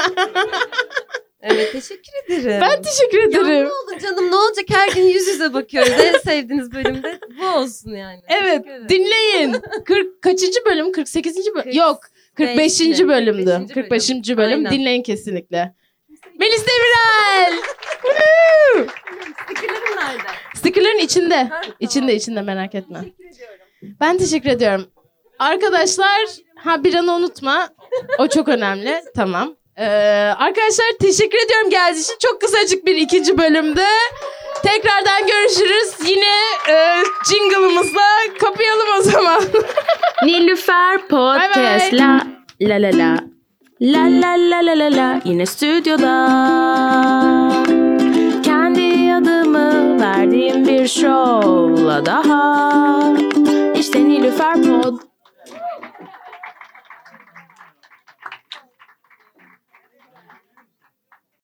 Evet teşekkür ederim.
Ben teşekkür
Ya ne
ederim.
oldu canım ne olacak her gün yüz yüze bakıyoruz. En sevdiğiniz bölümde bu olsun yani.
Evet
Teşekkür ederim.
dinleyin. 40 kaçıncı bölüm? 48. bölüm.
Kırk-
Yok. 45.
beşinci.
bölümdü. 45.
Kırk beşinci bölüm.
bölüm.
Aynen.
Dinleyin kesinlikle. Melis Demirel. Woo!
Fikirlerim nerede?
Sticker'ların içinde. içinde içinde merak etme. Ben teşekkür ediyorum. Arkadaşlar ha bir an unutma. O çok önemli. Tamam. Ee, arkadaşlar teşekkür ediyorum geldiğiniz için. Çok kısacık bir ikinci bölümde. Tekrardan görüşürüz. Yine e, jingle'ımızla kapayalım o zaman.
Nilüfer Podcast
Bye bye.
la la la la la la la la la la yine stüdyoda kendi adımı verdiğim bir şovla daha işte Nilüfer Pod